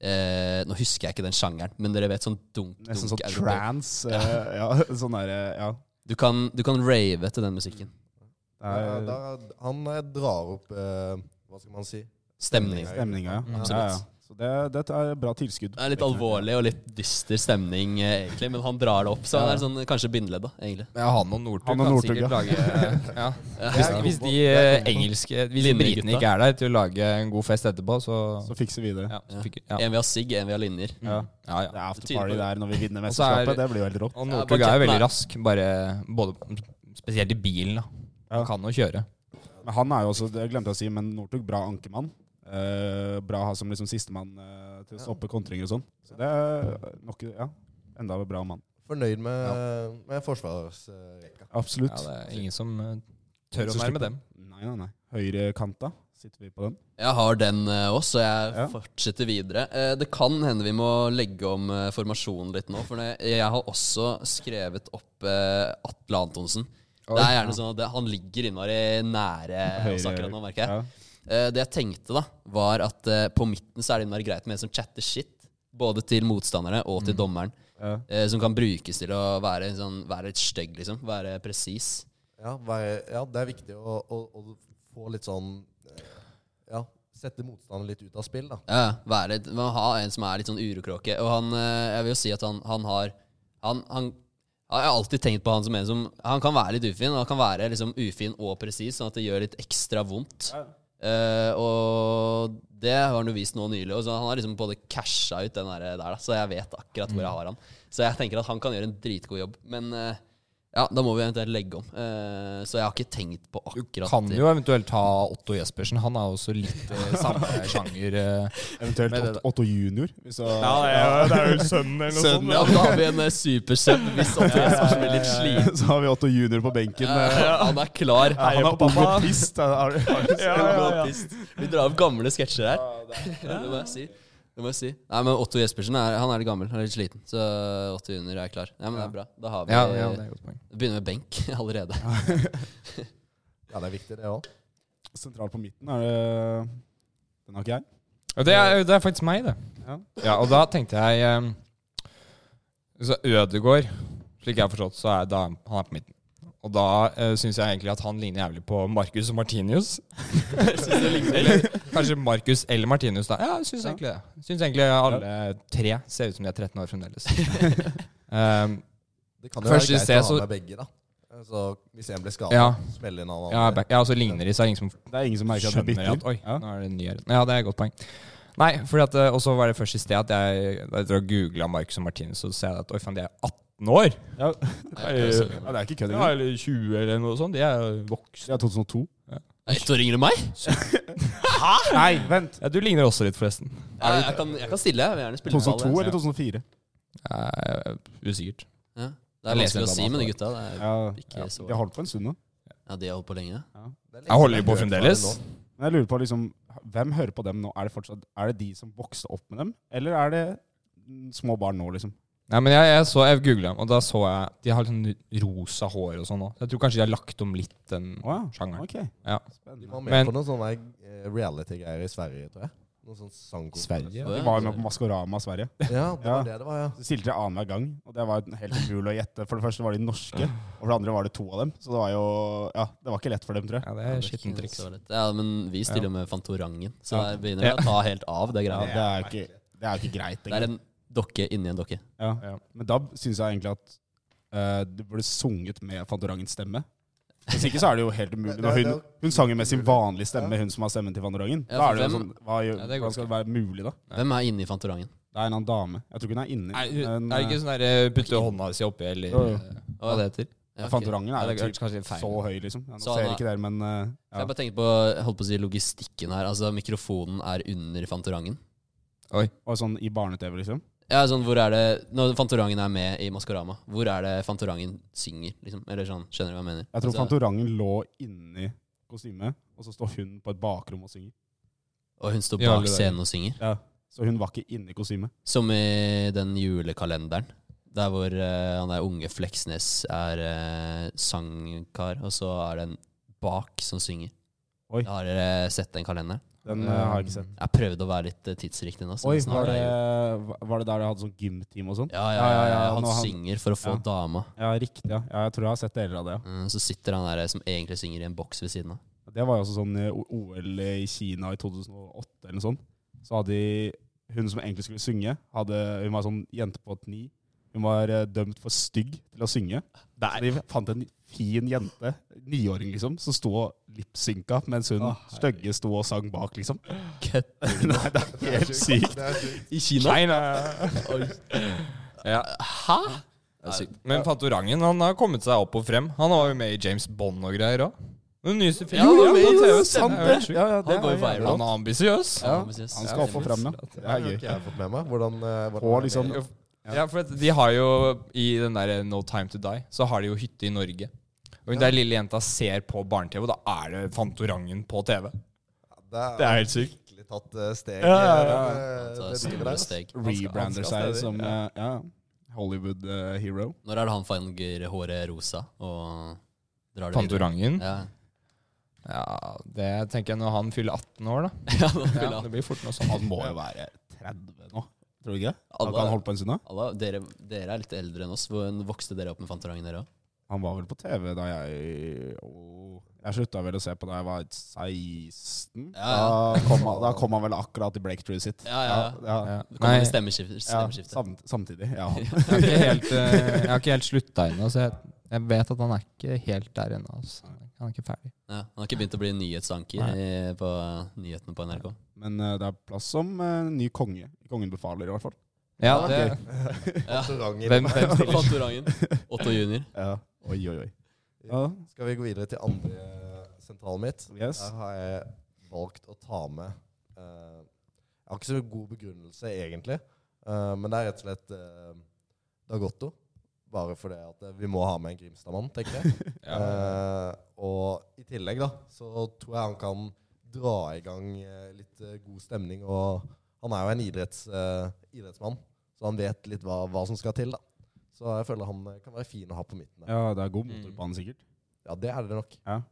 eh, Nå husker jeg ikke den sjangeren, men dere vet sånn Nesten dunk-dunk sånn europeisk. trans. eh, Ja, sånn derre Ja. Du kan, du kan rave til den musikken. Det er Ja, da- han eh, drar opp eh, Hva skal man si? Stemning. stemninga, ja. ja, ja. Mm, Absolutt. Så det, det er bra tilskudd. Det er litt alvorlig og litt dyster stemning, eh, egentlig, men han drar det opp. Så han er sånn, kanskje bindeledd, da, egentlig. Ja, han og Northug Han og kan Northug, sikkert ja. lage ja. hvis, hvis de eh, engelske Hvis Linjegutta. britene ikke er der til å lage en god fest etterpå, så, Så fikser vi det. ja, så fikk, ja. En vi har sigg, en vi har linjer. Ja. Ja, Det er ja. Det tyder på afterparty det. der når vi vinner Og så er- mesterskapet. Det blir jo helt rått. Og Ja, Northug er jo banketten veldig er- rask, bare både Spesielt i bilen, da. Ja. Han kan jo kjøre. Men han er jo også, det glemte jeg å si, men Northug, bra ankermann. Eh, bra ha som liksom sistemann eh, til å stoppe kontringer og sånn. Så det er nok ja, enda en bra mann. Fornøyd med, med forsvarsrekka. Absolutt. Ja, det er ingen som eh, tør å nærme dem. Nei, nei, nei. Høyrekanta sitter vi på den. Jeg har den eh, også, så jeg Ja. fortsetter videre. Eh, Det kan hende vi må legge om eh, formasjonen litt nå, for det- jeg har også skrevet opp eh, Atle Antonsen. Det er gjerne sånn at det, Han ligger innmari nære oss akkurat nå, merker jeg. Ja. Eh, Det jeg tenkte, da, var at eh, på midten så er det innmari greit med en som chatter shit. Både til motstanderne og til dommeren. Mm. Ja. eh, Som kan brukes til å være, en sånn, være litt stygg, liksom. Være presis. Ja, være, ja, det er viktig å, å, å få litt sånn eh, Ja, sette motstanderen litt ut av spill, da. Ja, være litt Man har en som er litt sånn urokråke. Og han eh, Jeg vil jo si at han, han har han, han Jeg har alltid tenkt på han som en som Han kan være litt ufin, og han kan være liksom ufin og presis, sånn at det gjør litt ekstra vondt. Eh, og det har han jo vist nå nylig. Og så han har liksom både casha ut den der, der da, så jeg vet akkurat hvor jeg har han. Så jeg tenker at han kan gjøre en dritgod jobb. Men eh, ja, da må vi eventuelt legge om. Eh, så jeg har ikke tenkt på akkurat Kan det. jo eventuelt ta Otto Jespersen. Han er også litt eh, samme sjanger. eh, Eventuelt Men det- Otto- Otto junior. Hvis du- det er vel sønnen eller noe sånt. Sønnen, Ja, da har vi en eh, supersub hvis Otto Jespersen blir litt sliten. Så har vi Otto junior på benken. Ja, han er klar. Hei, eh. Han på er ung pappa. og pissed. Er du- er du- Ja, Han er ja, ja. baptist. Vi drar opp gamle sketsjer her. Ja, det må jeg si. Det må jeg si. Nei, men Otto Jespersen er, han er litt gammel. Han er litt sliten. Så Otto Junior er klar. Ja, men det er bra. Da har vi Ja, ja, det er et godt poeng. Begynner med benk allerede. Ja, det er viktig, det òg. Sentral på midten, er det Den har ikke jeg. Ja, Det er, det er faktisk meg, det. Ja. Ja, og da tenkte jeg um, Så Ødegård, slik jeg har forstått, så er da, han er på midten. Og da uh, syns jeg egentlig at han ligner jævlig på Marcus og Martinius. eller kanskje Marcus eller Martinius, da. Ja, jeg syns egentlig det. Syns egentlig alle tre ser ut som de er 13 år fremdeles. um, Det kan jo Først i være greit sted å ha så- med begge, da. Eh, Så hvis en blir skada, Ja. smell inn han ja, andre. back- ja, og så ligner de, så er det ingen som Det er ingen som merker at du skjønner bytter. at Oi, Ja. nå er det en ny her. Ja, det er et godt poeng. Nei, fordi at eh, Og så var det først i sted at jeg Da jeg googla Marcus og Martinus, så ser jeg at oi faen, de er 18 år! Ja. Nei, eh, ja, det er ikke kødd Ja, engang. eller 20 eller noe sånt. De er jo voksne. Det er 2002. Er Ett år yngre enn meg? Nei, vent! Ja, du ligner også litt, forresten. Ja, jeg, kan, jeg kan stille. Jeg vil gjerne spille 2002 med alle. Sånn eller 2004? Eh, usikkert. Ja. Det er vanskelig å si med de gutta. Det er Ja, ikke så De har holdt på en stund nå. Ja, de har holdt på lenge. Jeg holder jo på fremdeles. Men jeg lurer på liksom, hvem hører på dem nå? Er det fortsatt Er det de som vokste opp med dem, eller er det mm, små barn nå, liksom? Nei, men jeg, jeg så Jeg googla dem, og da så jeg De har litt sånn rosa hår og sånn òg. Jeg tror kanskje de har lagt om litt den Wow. sjangeren. Ok. Ja. De Spennende. var med Men- på noen sånne eh, reality-greier i Sverige, tror jeg. Noen sånn sangkonkurranse. Sverige? De var jo med på Maskorama Sverige. Ja, det Ja. var det det var, ja. Så stilte jeg annenhver gang, og det var helt umulig å gjette. For det første var de norske, og for det andre var det to av dem. Så det var jo Ja, det var ikke lett for dem, tror jeg. Ja, det er skittent triks. Så litt. Ja, men vi stiller med Fantorangen, så Ja. der begynner vi å ta helt av. Det Ja, greia. det er ikke, det er jo ikke greit. Det er egentlig. en dokke inni en dokke. Ja. Men da syns jeg egentlig at eh, det burde sunget med Fantorangens stemme. Hvis ikke så er det jo helt umulig. Når hun, hun sang jo med sin vanlige stemme, hun som har stemmen til Fantorangen. Ja, Da for er det jo hvem- sånn hva, gjør- Ja, det går Hvordan skal det være mulig, da? Hvem er inni Fantorangen? Det er en annen dame. Jeg tror ikke hun er inni. Er, er men, det ikke eh, sånn derre putte hånda si oppi, eller Jo, jo. eh, hva det heter? Ja, ok. Fantorangen Ja, er det jo er kanskje litt typ feil. så høy, liksom. Ja, nå Så ser han jeg ikke dere, men eh, Jeg ja. bare tenker på, jeg holdt på å si logistikken her. Altså Mikrofonen er under Fantorangen. Og sånn i barne-TV, liksom. Ja, sånn, hvor er det Når Fantorangen er med i Maskorama, hvor er det Fantorangen synger? liksom? Eller sånn, Skjønner du hva jeg mener? Jeg tror Altså, Fantorangen lå inni kostymet, og så står hun på et bakrom og synger. Og hun står Ja, bak det er- scenen og synger. Så hun var ikke inni kostymet. Som i den julekalenderen. Der hvor eh, han der unge Fleksnes er eh, sangkar, og så er det en bak som synger. Oi. Har dere sett den kalenderen? Den eh, har jeg ikke sett. Jeg prøvde å være litt eh, tidsriktig nå. så Oi, det var snart er det, jul. var det der de hadde sånn gymteam og sånn? Ja, ja, ja, ja, Han nå har han- synger for å få ja. dama. Ja, riktig. Ja. Ja, jeg tror jeg har sett deler av det. Mm, Så sitter han der eh, som egentlig synger i en boks ved siden av. ja. Det var jo også sånn eh, O- OL i Kina i 2008 eller noe sånt. Så hadde de- hun som egentlig skulle synge, hadde, hun var sånn jente på et ni. Hun var eh, dømt for stygg til å synge. Så de fant en fin jente, niåring liksom, som sto og lipsynka mens hun stygge sto og sang bak, liksom. Nei, det er helt sykt. I Kina? Nei, nei. Oi. Ja. Hæ?! Det er sykt. Men Fantorangen han har kommet seg opp og frem. Han var jo med i James Bond og greier òg. Den nyeste Ja, filmen. han var med i TV, sant stemmer. det. Ja, ja, det Han går er jo viral. Han er ambisiøs. Ja, ambisiøs. Han skal opp og frem, ja. Det er har gøy. ikke jeg fått med meg. Hvordan, eh, hvordan På liksom Ja. Ja, for at de har jo I den der eh, No Time To Die Så har de jo hytte i Norge. Og der lille jenta ser på barne-TV, og da er det Fantorangen på TV. Det er, Det er helt sykt. virkelig tatt eh, steg. Ja, ja, eh, Han det tar driver store der. altså. steg. rebrander han skal seg stedig, som eh, ja, eh, Hollywood-hero. Når er det han farger håret rosa og drar det videre? Fantorangen. Ja. Ja, det tenker jeg når han fyller 18 år, da. ja, da vil Ja, han. det blir fort noe sånt. Han må jo være 30 nå, tror du ikke? Han kan Alle, holde på en stund, da? alle, dere, dere er litt eldre enn oss. Hvordan vokste dere opp med Fantorangen, dere òg? Han var vel på TV da jeg åh, Jeg slutta vel å se på da jeg var 16. Ja, Da, kom han, da kom han vel akkurat i Breakthrough sitt. Ja, ja, ja. ja, ja. Ja. Nei, Kommer det Ja, stemmeskifte? stemmeskifte. samt, samtidig. Ja. jeg har ikke helt, eh, jeg har ikke helt slutta ennå, så jeg, jeg vet at han er ikke helt der ennå. altså. Han er ikke ferdig. Ja, han har ikke begynt å bli nyhetsanker i, på nyhetene på NRK. Men eh, det er plass som eh, ny konge. Kongen befaler, i hvert fall. Ja, Ja, det, Restauranter. hvem, hvem stiller? Fantorangen. Otto junior. Ja. Oi, oi, oi. Ja, Skal vi gå videre til andre eh, sentralen mitt? yes. Der har jeg valgt å ta med eh, Jeg har ikke så god begrunnelse, egentlig. eh, men det er rett og slett eh, Dagotto. Bare fordi at eh, vi må ha med en Grimstad-mann, tenker jeg. Eh, og i tillegg da, så tror jeg han kan dra i gang eh, litt eh, god stemning. Og han er jo en idretts, eh, idrettsmann, så han vet litt hva, hva som skal til. da. Så jeg føler han eh, kan være fin å ha på midten. der. ja, det er god Mm. motor på han, sikkert. Ja, det er det nok. Ja,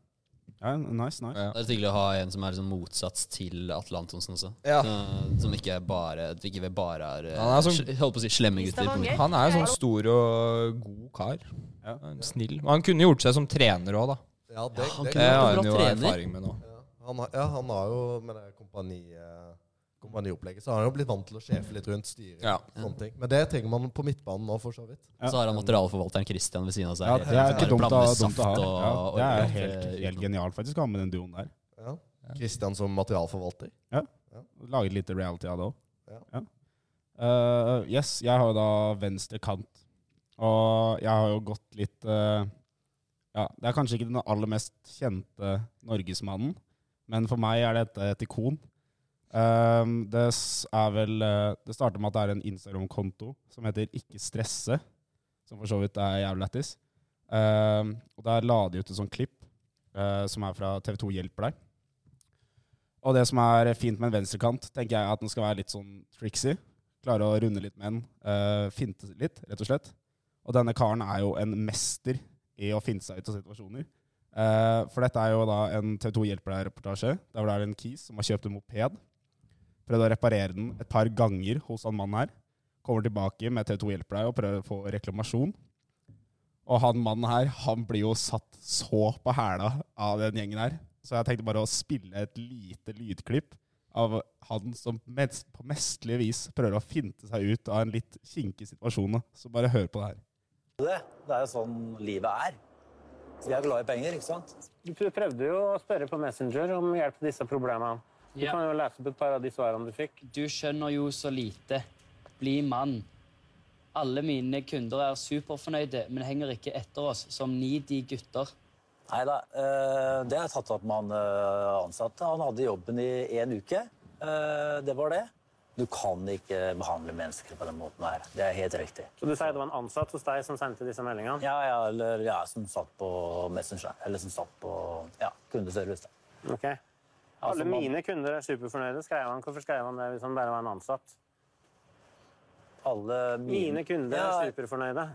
nice, nice. Det er litt hyggelig å ha en som er liksom motsats til Atle Antonsen også. Ja. Så- som ikke er bare at vi ikke bare er, eh, Han er som- sl- holdt på å si slemme gutter. på midten. Han er jo sånn stor og god kar. Ja. Han er Snill. Men han kunne gjort seg som trener òg, da. Ja, det, han det kunne vært Det en har bra han jo trener. erfaring med nå. Ja, han har, ja, han har jo med det kompani, eh, kompaniopplegget så har han jo blitt vant til å sjefe litt rundt styret. Ja. og Sånne ting. Men det trenger man på midtbanen nå, for så vidt. Så har han materialforvalteren Christian ved siden av seg. Ja, det er Bare ikke dumt, å- blande dumt å ha. saft Ja, og- det er og- helt, helt genialt faktisk å ha med den duoen der. Ja. Kristian som materialforvalter. Lage litt reality av det òg. Ja. Eh, yes, jeg har jo da venstre kant. Og jeg har jo gått litt eh, Ja, det er kanskje ikke den aller mest kjente norgesmannen, men for meg er dette et ikon. Ehm, det s- er vel eh, Det starter med at det er en Instagram-konto som heter Ikke stresse, som for så vidt er jævlig lættis. Ehm, og der la de ut et sånt klipp eh, som er fra TV2 Hjelper deg. Og det som er fint med en venstrekant, tenker jeg er at den skal være litt sånn tricksy. Klare å runde litt med den. eh, finte litt, rett og slett. Og denne karen er jo en mester i å finte seg ut av situasjoner. Eh, for dette er jo da en TV2 hjelper deg-reportasje. Der hvor det er en kis som har kjøpt en moped. Prøvd å reparere den et par ganger hos han mannen her. Kommer tilbake med TV2 hjelper deg og prøver å få reklamasjon. Og han mannen her, han blir jo satt så på hæla av den gjengen her. Så jeg tenkte bare å spille et lite lydklipp av han som mest, på mestlig vis prøver å finte seg ut av en litt kinkig situasjon. da. Så bare hør på det her. Det er jo sånn livet er. Vi er glad i penger, ikke sant? Du prøvde jo å spørre på Messenger om hjelp til disse problemene. Du kan jo lese opp et par av de svarene du fikk. Du skjønner jo så lite. Bli mann. Alle mine kunder er superfornøyde, men henger ikke etter oss som needy gutter. Nei da, eh, det er tatt opp med han eh, ansatte. Han hadde jobben i én uke. Eh, Det var det. Du kan ikke behandle mennesker på den måten her. Det er helt riktig. Så du sier det var en ansatt hos deg som sendte disse meldingene? Ja, ja, eller ja, som satt på Messenger. Eller som satt på ja, kundeservice. da. Ok. Alle mine kunder er superfornøyde, skrev han. Hvorfor skrev han det hvis han bare var en ansatt? Alle Mine kunder Ja, er superfornøyde.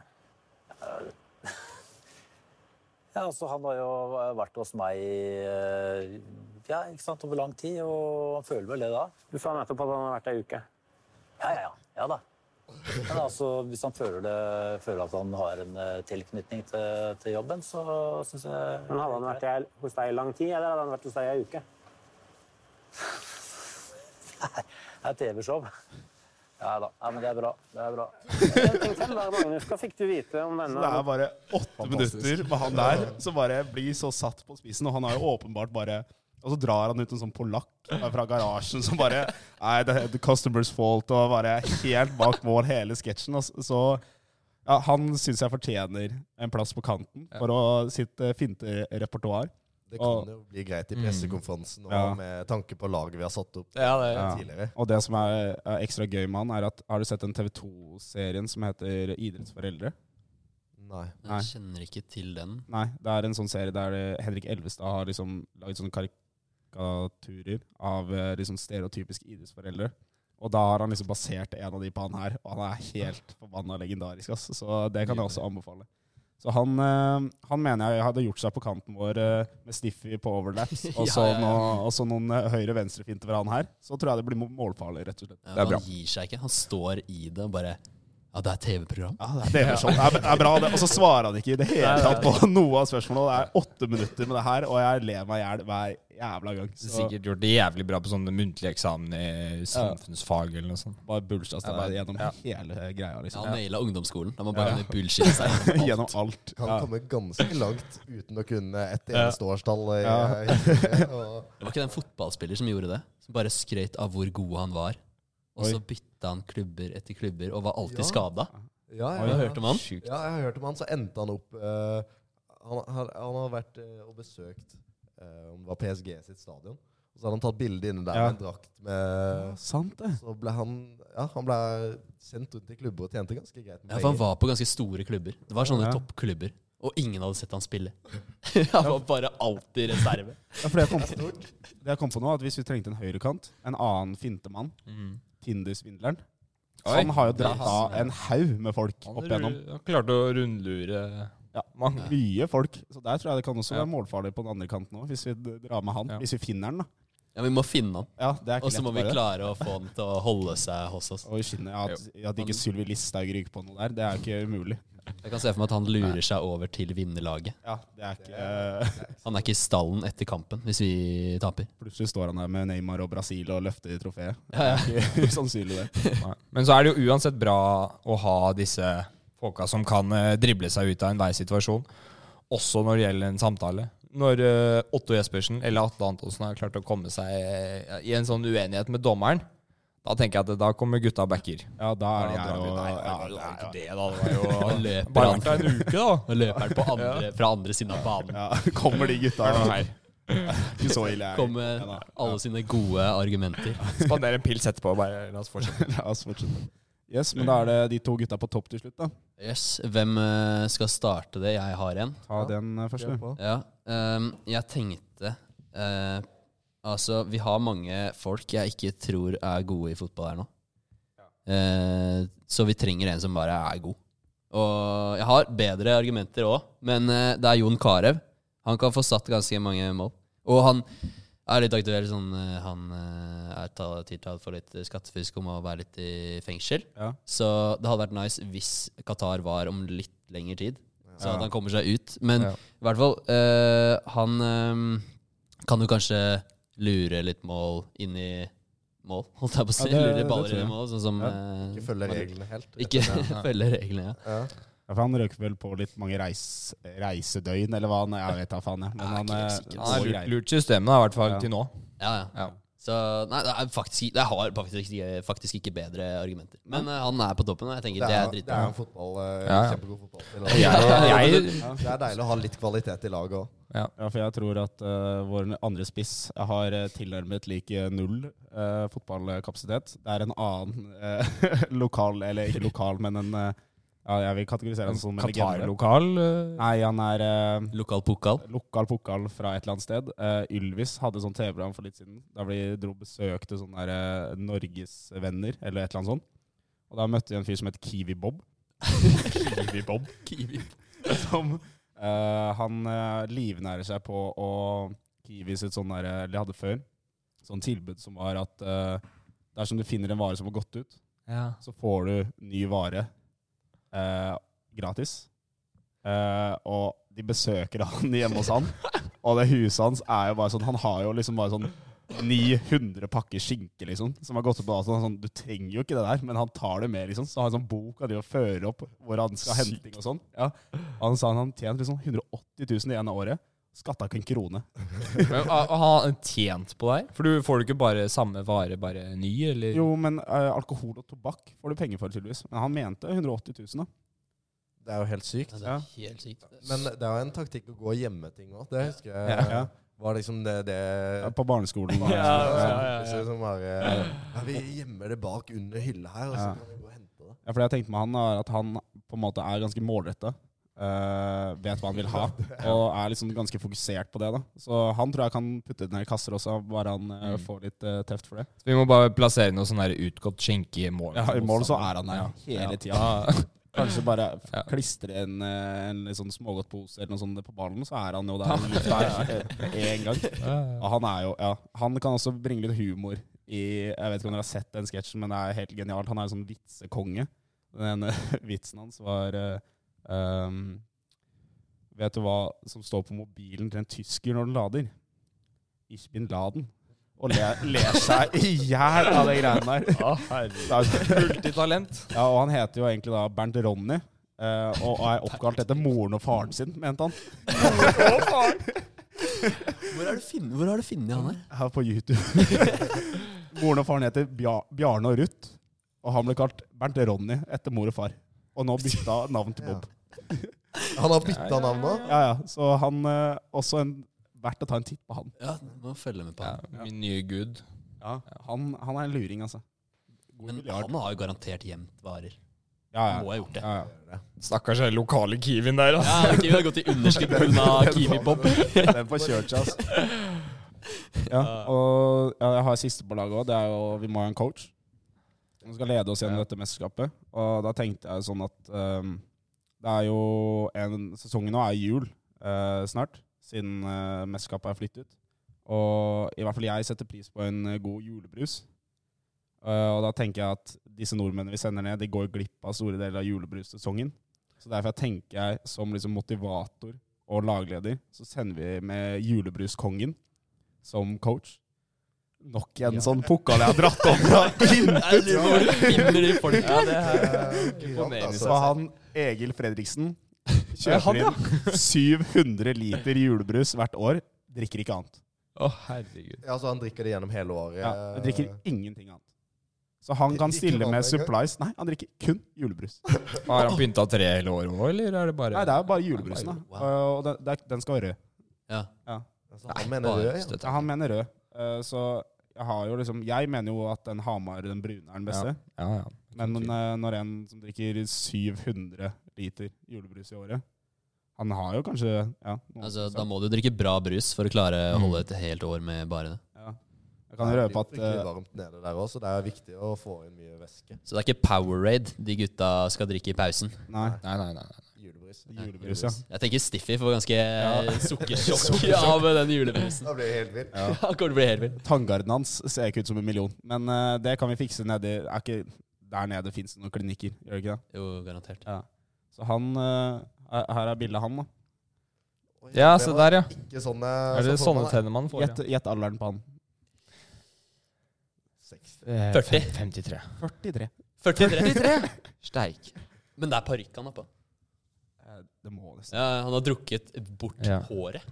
Ja, altså Han har jo vært hos meg eh, ja, ikke sant, over lang tid, og han føler vel det da. Du sa nettopp at han har vært ei uke. Ja, ja, ja. ja da. Men altså, hvis han føler, det, føler at han har en eh, tilknytning til, til jobben, så syns jeg Men hadde han vært i- hos deg i lang tid, eller hadde han vært hos deg i ei uke? Det er TV-show. Ja da. Nei, men det er bra. Det er bra. Tenk selv da, Magnus, hva fikk du vite om Så det denne? er bare åtte minutter med han der som bare blir så satt på spissen, og han har jo åpenbart bare og så drar han ut en sånn polakk fra garasjen som bare Nei, det er the customer's fault, og bare helt bak mål hele sketsjen. altså. Så Ja, han syns jeg fortjener en plass på kanten for å sitt eh, finte repertoar. Det kan jo bli greit Mm. i pressekonferansen og Ja. med tanke på laget vi har satt opp tidligere. Og det som er er ekstra gøy med han, er at har du sett den TV 2-serien som heter Idrettsforeldre? Nei. Nei. Jeg kjenner ikke til den. Nei, det er en sånn serie der eh, Henrik Elvestad har liksom laget sånne karikaturer av eh, liksom stereotypiske idrettsforeldre. Og da har han liksom basert en av de på han her, og han er helt forbanna legendarisk. Ass. Så det kan jeg også anbefale. Så han, eh, han mener jeg hadde gjort seg på kanten vår eh, med Stiffy på overlaps, og Ja, så ja, ja. noe- og så noen eh, høyre-venstre-finter fra han her. Så tror jeg det blir må- målfarlig, rett og slett. Ja, Han gir seg ikke. Han står i det og bare Ja, det er TV-program. Ja, Det er, sånn. det er- det er bra, det. Og så svarer han ikke i det hele Nei, nei. tatt på noe av spørsmålene. Det er åtte minutter med det her, og jeg ler meg i hjel hver jævla gang. Så. Sikkert gjort det jævlig bra på sånne muntlige eksamener i samfunnsfag eller noe sånt. Bare bullshit Ja, bare- deg gjennom ja. hele greia, Ja, liksom. han naila ungdomsskolen. Da må Ja. bare ja. bullshit seg Gjennom alt. Kan Ja. komme ganske langt uten å kunne et Ja. eneste årstall. i- Ja. i historien, og- Det var ikke den fotballspiller som gjorde det? Som bare skrøt av hvor god han var. Og Oi. så bytta han klubber etter klubber og var alltid Ja. skada. Ja, Har du hørt om han? Sjukt. Ja, jeg har hørt om han. Så endte han opp eh, han, han, han har vært eh, og besøkt eh, om det var PSG sitt stadion. Og så hadde han tatt bilde inne der Ja. med en drakt med sant det. Så ble han Ja, han ble sendt rundt i klubber og tjente ganske greit med Ja, for han var på ganske store klubber. Det var sånne Ja. toppklubber. Og ingen hadde sett han spille. han var bare alltid reserve. Ja, for det jeg kom på, det jeg kom på nå, at hvis vi trengte en høyrekant, en annen fintemann, Tinder-svindleren Mm. Oi. Han har jo dratt Ja. av en haug med folk Han opp ru- igjennom. Han klarte å rundlure Ja, mange. Mye folk. Så der tror jeg det kan også Ja. være målfarlig på den andre kanten òg, hvis vi d- drar med han. Ja. Hvis vi finner han, da. Ja, Vi må finne han. Ja, det er ikke Og så lett må å vi gjøre. klare å få han til å holde seg hos oss. Og i skinnet at, at ikke Sylvi Listhaug ryker på noe der, det er jo ikke umulig. Jeg kan se for meg at han lurer seg over til vinnerlaget. Ja, det er ikke Han er ikke i stallen etter kampen hvis vi taper. Plutselig står han der med Neymar og Brasil og løfter i trofeet. Det er ikke usannsynlig, det. Men så er det jo uansett bra å ha disse folka som kan eh, drible seg ut av enhver situasjon, også når det gjelder en samtale. Når eh, Otto Jespersen eller Atle Antonsen har klart å komme seg eh, i en sånn uenighet med dommeren, da tenker jeg at da kommer gutta og backer. Ja, da er det Ja, her drar vi- og Nei, ja, det var ja, ikke det, da. Det var Han jo løper bare han. vært der en uke, da. Nå løper han på andre, fra andre siden av banen. ja. Kommer de gutta Er det noe her? Ikke så ille, jeg. Kom med Ja, da. alle sine gode argumenter. Spandere en pils etterpå og bare la oss fortsette. La oss fortsette. Yes, men da er det de to gutta på topp til slutt, da. Yes, Hvem eh, skal starte det? Jeg har en. Ta den eh, først, du. Ja, ehm, jeg tenkte eh, Altså, vi har mange folk jeg ikke tror er gode i fotball her nå. Eh, så vi trenger en som bare er god. Og jeg har bedre argumenter òg, men eh, det er Jon Carew. Han kan få satt ganske mange mål. Og han er litt aktuell sånn eh, Han eh, er ta- tiltalt for litt skattefusk om å være litt i fengsel. Ja. Så det hadde vært nice hvis Qatar var om litt lengre tid, så at han kommer seg ut. Men Ja. i hvert fall, eh, han eh, kan jo kanskje lure litt mål inn i mål, holdt jeg på å si. Ja, det- lure det baller tror inn jeg. i mål, sånn som eh, Ikke følge man- reglene helt. Ikke følge reglene, ja. Ja. Ja, for han røk vel på litt mange reis, reisedøgn, eller hva han Jeg vet da faen, jeg. Men Jeg er han ikke helt sikker. eh, Han har går lurt, greit. lurt systemet, da, i hvert fall Ja. til nå. ja, ja. Ja. Så nei, det er faktisk, jeg har faktisk, ikke- faktisk ikke bedre argumenter. Men eh, han er på toppen, og jeg tenker Det det er, er det dritbra. er en fotball, eh, Ja, ja. kjempegod fotball. Jeg, Det er deilig å ha litt kvalitet i laget òg. Ja, for jeg tror at eh, vår andre spiss har eh, tilnærmet lik eh, null eh, fotballkapasitet. Det er en annen eh, lokal, eller ikke lokal, men en eh, ja, Jeg vil kategorisere han som en legende. Qatar-lokal eh, Nei, han er eh, Lokal pokal. lokal pokal fra et eller annet sted. Eh, Ylvis hadde sånn TV-program for litt siden, der vi dro og besøkte sånne der, eh, Norgesvenner, eller et eller annet sånt. Og da møtte vi en fyr som het Kiwi Bob. Kiwi Bob? Kiwi. som eh, han eh, livnærer seg på å Kiwi sitt sånn der, eller hadde før, sånn tilbud som var at eh, dersom du finner en vare som har gått ut, ja. så får du ny vare eh, gratis. Eh, og de besøker han hjemme hos han, og det huset hans er jo bare sånn, han har jo liksom bare sånn 900 pakker skinke, liksom, som har gått opp på dato. Han er Sånn, du trenger jo ikke det der, men han tar det med, liksom. Så har han sånn bok av de å føre opp hvor han skal hente ting og sånn. Ja. Han sa han hadde tjent liksom 180 000 det ene året. Skatta ikke en krone. Men har har han tjent på deg? For du får du ikke bare samme vare, bare ny, eller? Jo, men eh, alkohol og tobakk får du penger for, tydeligvis. Men han mente 180 000, da. Det er jo helt sykt. Ja, Altså, det er helt sykt. Men det er jo en taktikk å gå og gjemme ting òg. Det husker jeg Ja, ja. var liksom det, det Ja, på barneskolen, da. ja, ja, ja, Ja. Som bare, ja, vi gjemmer det bak under hylla her, og så Ja. kan vi gå og hente det. Ja, for det jeg tenkte med han er at han på en måte er ganske målretta. eh, vet hva han vil ha, og er liksom ganske fokusert på det. da Så han tror jeg kan putte det ned i kasser også, bare han eh, får litt eh, teft for det. Så vi må bare plassere noe sånn der utgått skjenke i mål. Ja, I mål så er han der hele tida. Kanskje bare f- klistre en, eh, en litt sånn smågodtpose eller noe sånt på ballen, så er han jo der i lufta eh, med en gang. Og han er jo, ja Han kan også bringe litt humor i Jeg vet ikke om dere har sett den sketsjen, men det er helt genialt. Han er jo sånn vitsekonge. Den ene vitsen hans var eh, ehm, Vet du hva som står på mobilen til en tysker når den lader? Ich bin laden. Og ler, ler seg i hjel av de greiene der. Ja, Multitalent. Ja, og han heter jo egentlig da Bernt Ronny. eh, og er oppkalt etter moren og faren sin, mente han. Hvor har du funnet- hvor har du funnet han her? Her på YouTube. moren og faren heter Bjar Bjarne og Ruth. Og han ble kalt Bernt Ronny etter mor og far. Og nå bytta navn til Bob. Han har bytta Ja, ja, navn nå? Ja, ja. Så han eh, også en, verdt å ta en titt på han. Ja, du må følge med på han. Min nye gud. Ja, han, han er en luring, altså. Men han har jo garantert gjemt varer. Ja, ja. Må ha gjort det. Stakkars den lokale kiwien der, altså. Ja, han kunne jo gått i underskudd på grunn av Kiwi-pop. Den får kjørt seg, altså. Ja, og ja, jeg har siste på laget òg. Det er jo Vi må ha en coach. Han skal lede oss gjennom dette mesterskapet. Og da tenkte jeg sånn at ehm, Det er jo en Sesongen nå er jul eh, snart, siden eh, mesterskapet er flyttet. Og i hvert fall jeg setter pris på en eh, god julebrus. Eh, og da tenker jeg at disse nordmennene vi sender ned, de går glipp av store deler av julebrussesongen. Så derfor jeg tenker jeg som liksom motivator og lagleder, så sender vi med julebruskongen som coach. Nok en sånn pokal jeg har dratt opp fra intet! Jeg lurer på hvor du finner de folka. Ja, det er Imponerende, Altså, Så var han Egil Fredriksen Ja, han, kjøper ja. inn 700 liter julebrus hvert år. Drikker ikke annet. Å, herregud. Ja, så han drikker det gjennom hele året. Ja, jeg drikker ingenting annet. Så han kan stille med supplies. Nei, han drikker kun julebrus. Har han pynta tre hele året òg, eller er det bare Nei, det er jo bare julebrusen, da. Og den, det er- den skal være rød. Ja. Altså, han mener bare rød, ja. støtter. ja. Han mener rød. Eh, Så jeg har jo liksom Jeg mener jo at den Hamar, den brune, er den beste. Ja, ja, ja. Men eh, når en som drikker 700 liter julebrus i året Han har jo kanskje ja, noen Altså, prosent. da må du drikke bra brus for å klare å holde et helt år med bare det. Ja. Jeg kan Det røpe blir at fryktelig eh, varmt nede der også, så det er viktig å få inn mye væske. Så det er ikke Powerade de gutta skal drikke i pausen. Nei. Nei, nei, nei. nei. Julebrus. Julebrus, ja. Jeg tenker Stiffy får ganske sukkersjokk av den julebrusen. Da blir jeg helt vill. Ja. Han kommer til å bli helt vill. Tanngarden hans ser ikke ut som en million. Men eh, det kan vi fikse nedi er ikke, Der nede fins det noen klinikker, gjør det ikke det? Jo, garantert. Ja. Så han eh, er- Her er bildet av han, da. Ja, Det se var der, ja. Ikke sånne, Er det så får man sånne tenner man får? Gjett gjett alderen på han. 60. Ja. 40. 53. 43. 43. Steik. Men det er parykk han har på. Eh, Det må nesten Ja, han har drukket bort Ja. håret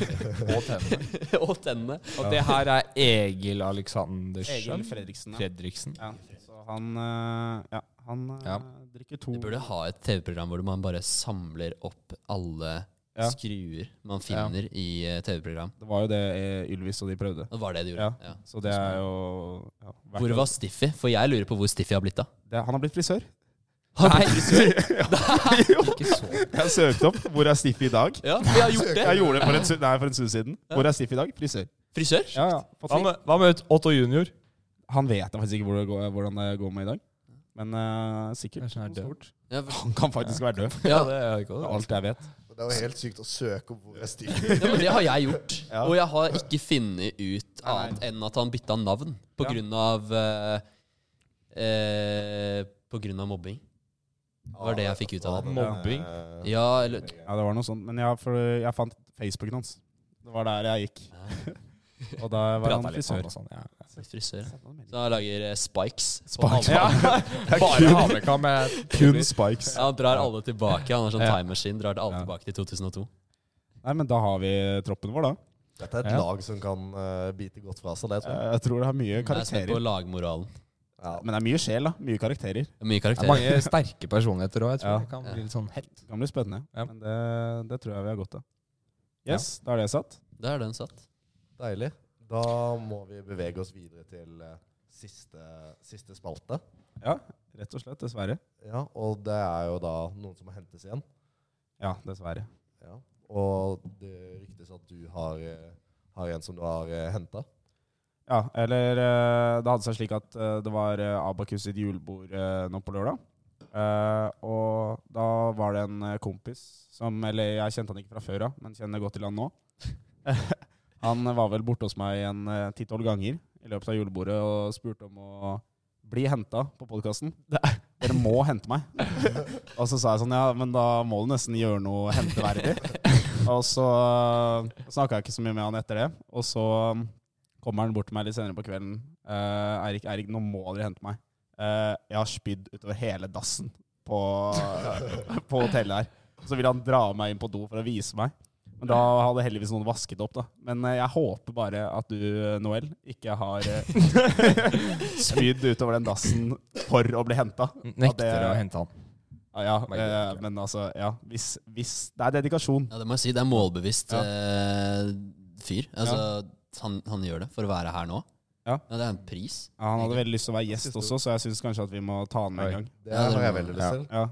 Og tennene. og tennene. Og det her er Egil Aleksandersen Egil Fredriksen. da. Fredriksen. Ja, så han eh, Ja, han eh, Ja. drikker to Du burde ha et TV-program hvor man bare samler opp alle Ja. skruer man finner i eh, TV-program. Det var jo det eh, Ylvis og de prøvde. Det var det de gjorde. Ja. Ja. Så det er jo ja, verdt Hvor det. var Stiffy? For jeg lurer på hvor Stiffy har blitt av. det, Han har blitt frisør. Nei, Ikke så Jeg søkte opp 'Hvor er Stiff i dag?' ja, vi har gjort det. Jeg gjorde det for en, su- nei, for en stund siden. 'Hvor er Stiff i dag?' Frisør. Frisør? Ja, ja. Fått Hva ting. med, hva med Otto junior? Han vet jeg faktisk ikke hvor det går, hvordan det går med i dag. Men eh, sikkert Kanskje han er noe død. stort. Ja, for- Han kan faktisk være død. ja, det er ikke Det er alt jeg vet. Det var helt sykt å søke opp hvor jeg styrer. ja, men det har jeg gjort. Ja. Og jeg har ikke funnet ut annet enn at han bytta navn på Ja. grunn av eh, eh, På grunn av mobbing. Det var det jeg fikk ut av det. Mobbing. eh, Ja, eller Ja, det var noe sånt. Men jeg, for, jeg fant Facebooken hans. Det var der jeg gikk. Og da var han Prata litt frisør. sånn og sånn. Ja. frisør. Så han lager eh, spikes. på Spikes. alle. Bare Hamekam med Kun spikes. Ja, han drar alle tilbake. Han har sånn Ja. time machine. Drar alle Ja. tilbake til 2002. Nei, men da har vi troppen vår, da. Dette er et Ja. lag som kan eh, bite godt fra seg, det tror jeg. Eh, Jeg tror det har mye Jeg er spent på karakterer. lagmoralen. Men det er mye sjel, da. Mye karakterer. Mye Det er mange sterke personligheter òg. Jeg Ja. tror det kan bli litt sånn hett. Det kan bli spennende. Men det, det tror jeg vi har godt av. Yes, da er det satt. Da er den satt. Deilig. Da må vi bevege oss videre til eh, siste, siste spalte. Ja, rett og slett. Dessverre. Ja, Og det er jo da noen som må hentes igjen. Ja, dessverre. Ja. Og det ryktes at du har, eh, har en som du har eh, henta. Ja, eller eh, det hadde seg slik at eh, det var eh, Abakus sitt julebord eh, nå på lørdag. Eh, og da var det en eh, kompis som Eller jeg kjente han ikke fra før av, men kjenner godt til han nå. han var vel borte hos meg en eh, ti-tolv ganger i løpet av julebordet og spurte om å bli henta på podkasten. Dere må hente meg. og så sa jeg sånn, ja, men da må du nesten gjøre noe henteverdig. og så snakka jeg ikke så mye med han etter det. Og så kommer han bort til meg litt senere på kvelden. Eh, Eirik, Eirik, nå må dere hente meg. Eh, jeg har spydd utover hele dassen på, på hotellet her. Så vil han dra meg inn på do for å vise meg. Men da hadde heldigvis noen vasket opp, da. Men eh, jeg håper bare at du, Noel, ikke har eh, spydd utover den dassen for å bli henta. Nekter å hente han. Ja, ja eh, men altså, ja. Hvis, hvis Det er dedikasjon. Ja, det må jeg si. Det er målbevisst Ja. eh, fyr. Altså, han, han gjør det for å være her nå. Ja. Det er en pris. Ja, han hadde veldig lyst til å være gjest Synes du- også, så jeg syns kanskje at vi må ta han med en gang. Det har jeg veldig lyst til. Ja.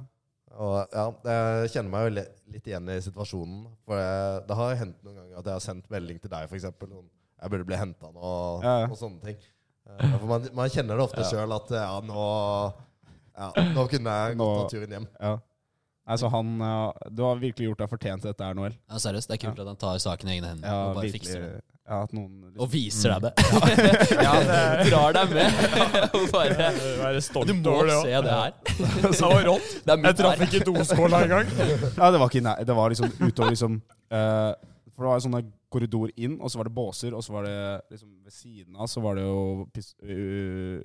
Og, ja, jeg kjenner meg jo li- litt igjen i situasjonen. For jeg, det har hendt noen ganger at jeg har sendt melding til deg, f.eks. Sånn, 'Jeg burde bli henta nå', Ja, ja. og sånne ting. Eh, For man, man kjenner det ofte Ja. selv sjøl at eh, ja, nå ja, Nå kunne jeg gått av turen hjem. Ja. Nei, så altså, han ja, Du har virkelig gjort deg fortjent til dette her, Noel. Ja, seriøst, det er kult at han tar saken i egne hender Ja, og bare virkelig. fikser det. Ja, at noen Og viser deg det. Mm. ja, drar deg med. Og bare, Være stolt du må over det, ja. se det her. Det var rått. Det er mitt Jeg traff her. ikke doskåla engang. Ja, det var ikke nei, Det var liksom utover liksom eh, For det var en sånn korridor inn, og så var det båser, og så var det liksom ved siden av så var det jo piss... Uh,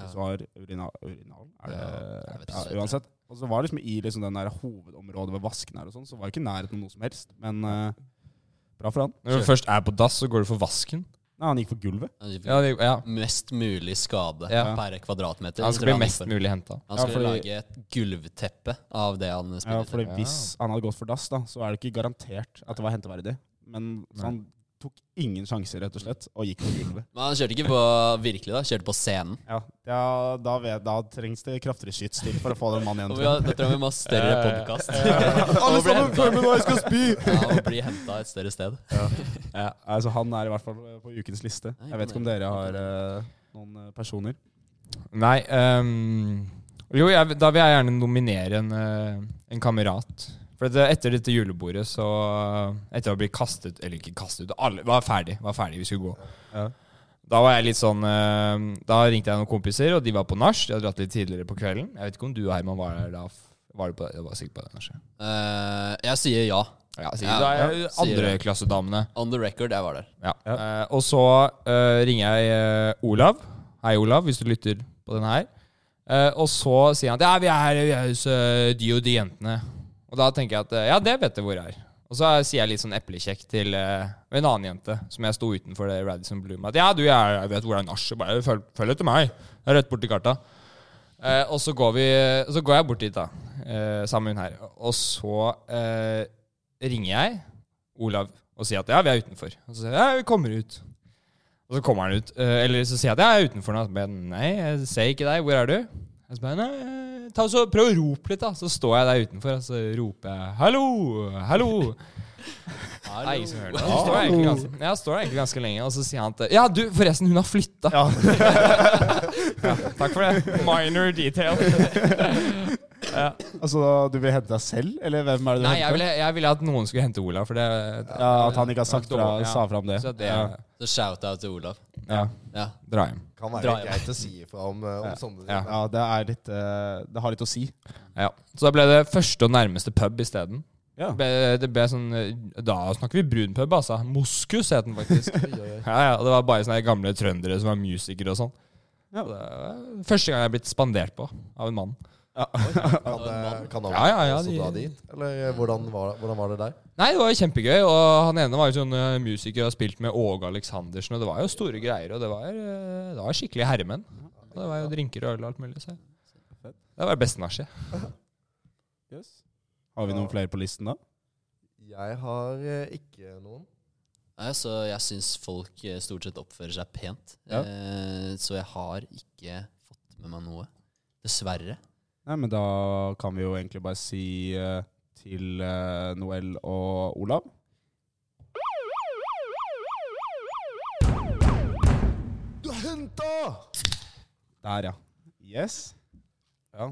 pissoar, urina, urinal Er det jeg vet ja, ikke. Uansett. Og så var det liksom i liksom den der hovedområdet ved vasken her og sånn, så var det ikke i nærheten av noe som helst. Men eh, bra for han. Når du først er på dass, så går du for vasken. Nei, han gikk for gulvet. Ja, det- ja. Mest mulig skade Ja. per kvadratmeter. Han skal tror bli mest får. mulig hentet. Han Ja, skal fordi- lage et gulvteppe av det han Ja, spiller. fordi til. hvis han hadde gått for dass, da, så er det ikke garantert at det var henteverdig. Men så han tok ingen sjanser, rett og slett, og gikk på gulvet. Men han kjørte ikke på virkelig, da. Kjørte på scenen. Ja, ja da, vet, da trengs det kraftigere skyts til for å få den mannen Og igjen. vi har, da tror jeg vi må ha større Ja, ja, ja. podcast. Ja. Og bli hentet- Ja, og bli Ja, henta et større sted. altså, han er i hvert fall på ukens liste. Jeg vet ikke om dere har eh, noen eh, personer. Nei ehm, Jo, jeg, da vil jeg gjerne nominere en, eh, en kamerat. For det, etter dette julebordet, så eh, Etter å bli kastet Eller ikke kastet, alle var ferdig, var ferdig vi skulle gå. Da var jeg litt sånn eh, Da ringte jeg noen kompiser, og de var på nach. De hadde dratt litt tidligere på kvelden. Jeg vet ikke om du og Herman var der da. f- Var du på det? Jeg var sikkert på det, kanskje. Eh, jeg sier ja. Ja, sier du. Da er jeg andreklassedamene. On the record, jeg var der. Ja. Eh, og så eh, ringer jeg eh, Olav. Hei, Olav, hvis du lytter på denne her. Eh, og så sier han at ja, vi er her vi er hos eh, de og de jentene. Og da tenker jeg at eh, ja, det vet jeg hvor jeg er. Og så sier jeg litt sånn eplekjekk til eh, en annen jente som jeg sto utenfor det Radisson Bloom at ja, du, jeg, jeg vet hvor det er nach. Bare følg, følg etter meg. Det er rett borti karta. Eh, og så går, vi, så går jeg bort dit, da, eh, sammen med hun her. Og så eh, ringer jeg Olav og sier at ja, vi er utenfor. Og så sier jeg ja, vi kommer ut. Og så kommer han ut. Eh, eller så sier jeg at ja, jeg er utenfor nå. Og så bare, Nei, jeg ser ikke deg. Hvor er du? Og så bare, nei, eh, ta og så Prøv å rope litt, da. Så står jeg der utenfor, og så roper jeg 'hallo, hallo'. Nei, ingen som hører det. Så står jeg egentlig ganske, jeg står der egentlig ganske lenge, og så sier han at Ja, du, forresten, hun har flytta. Ja. takk for det. Minor detail. ja. Altså, Du vil hente deg selv, eller hvem er det du Nei, henter? jeg ville, jeg ville at noen skulle hente Olav, for det Ja, at han ikke har sagt det var fra- dårlig, ja. sa fra om det. Så det Ja. Så shout-out til Olav. Ja. Ja. Dra hjem. Kan være Dra hjem. greit å si ifra om, eh, om Ja. sånne ting. Ja. det er litt eh, Det har litt å si. Ja. Så da ble det første og nærmeste pub isteden. Ja. Det ble- Det ble sånn eh, Da snakker vi brun pub, altså. Moskus het den faktisk. ja, ja, og det var bare sånne gamle trøndere som var musikere og sånn. Ja. Så Det var første gang jeg er blitt spandert på av en mann. Ja, Kan, eh, kan han ja, ja, også de- dra dit? Eller eh, hvordan var, hvordan var det der? Nei, det var jo kjempegøy. Og han ene var jo sånn eh, musiker og har spilt med Åge Aleksandersen, og det var jo store greier. Og det var, eh, det var skikkelig herremenn. Det var jo drinker og øl og alt mulig. Så. Det var beste nachspiel. Har vi noen flere på listen, da? Jeg har eh, ikke noen. Nei, så jeg syns folk eh, stort sett oppfører seg pent. Ja. Eh, Så jeg har ikke fått med meg noe. Dessverre. Nei, men da kan vi jo egentlig bare si eh, til eh, Noel og Olav Du har henta! Der, ja. Yes. Ja.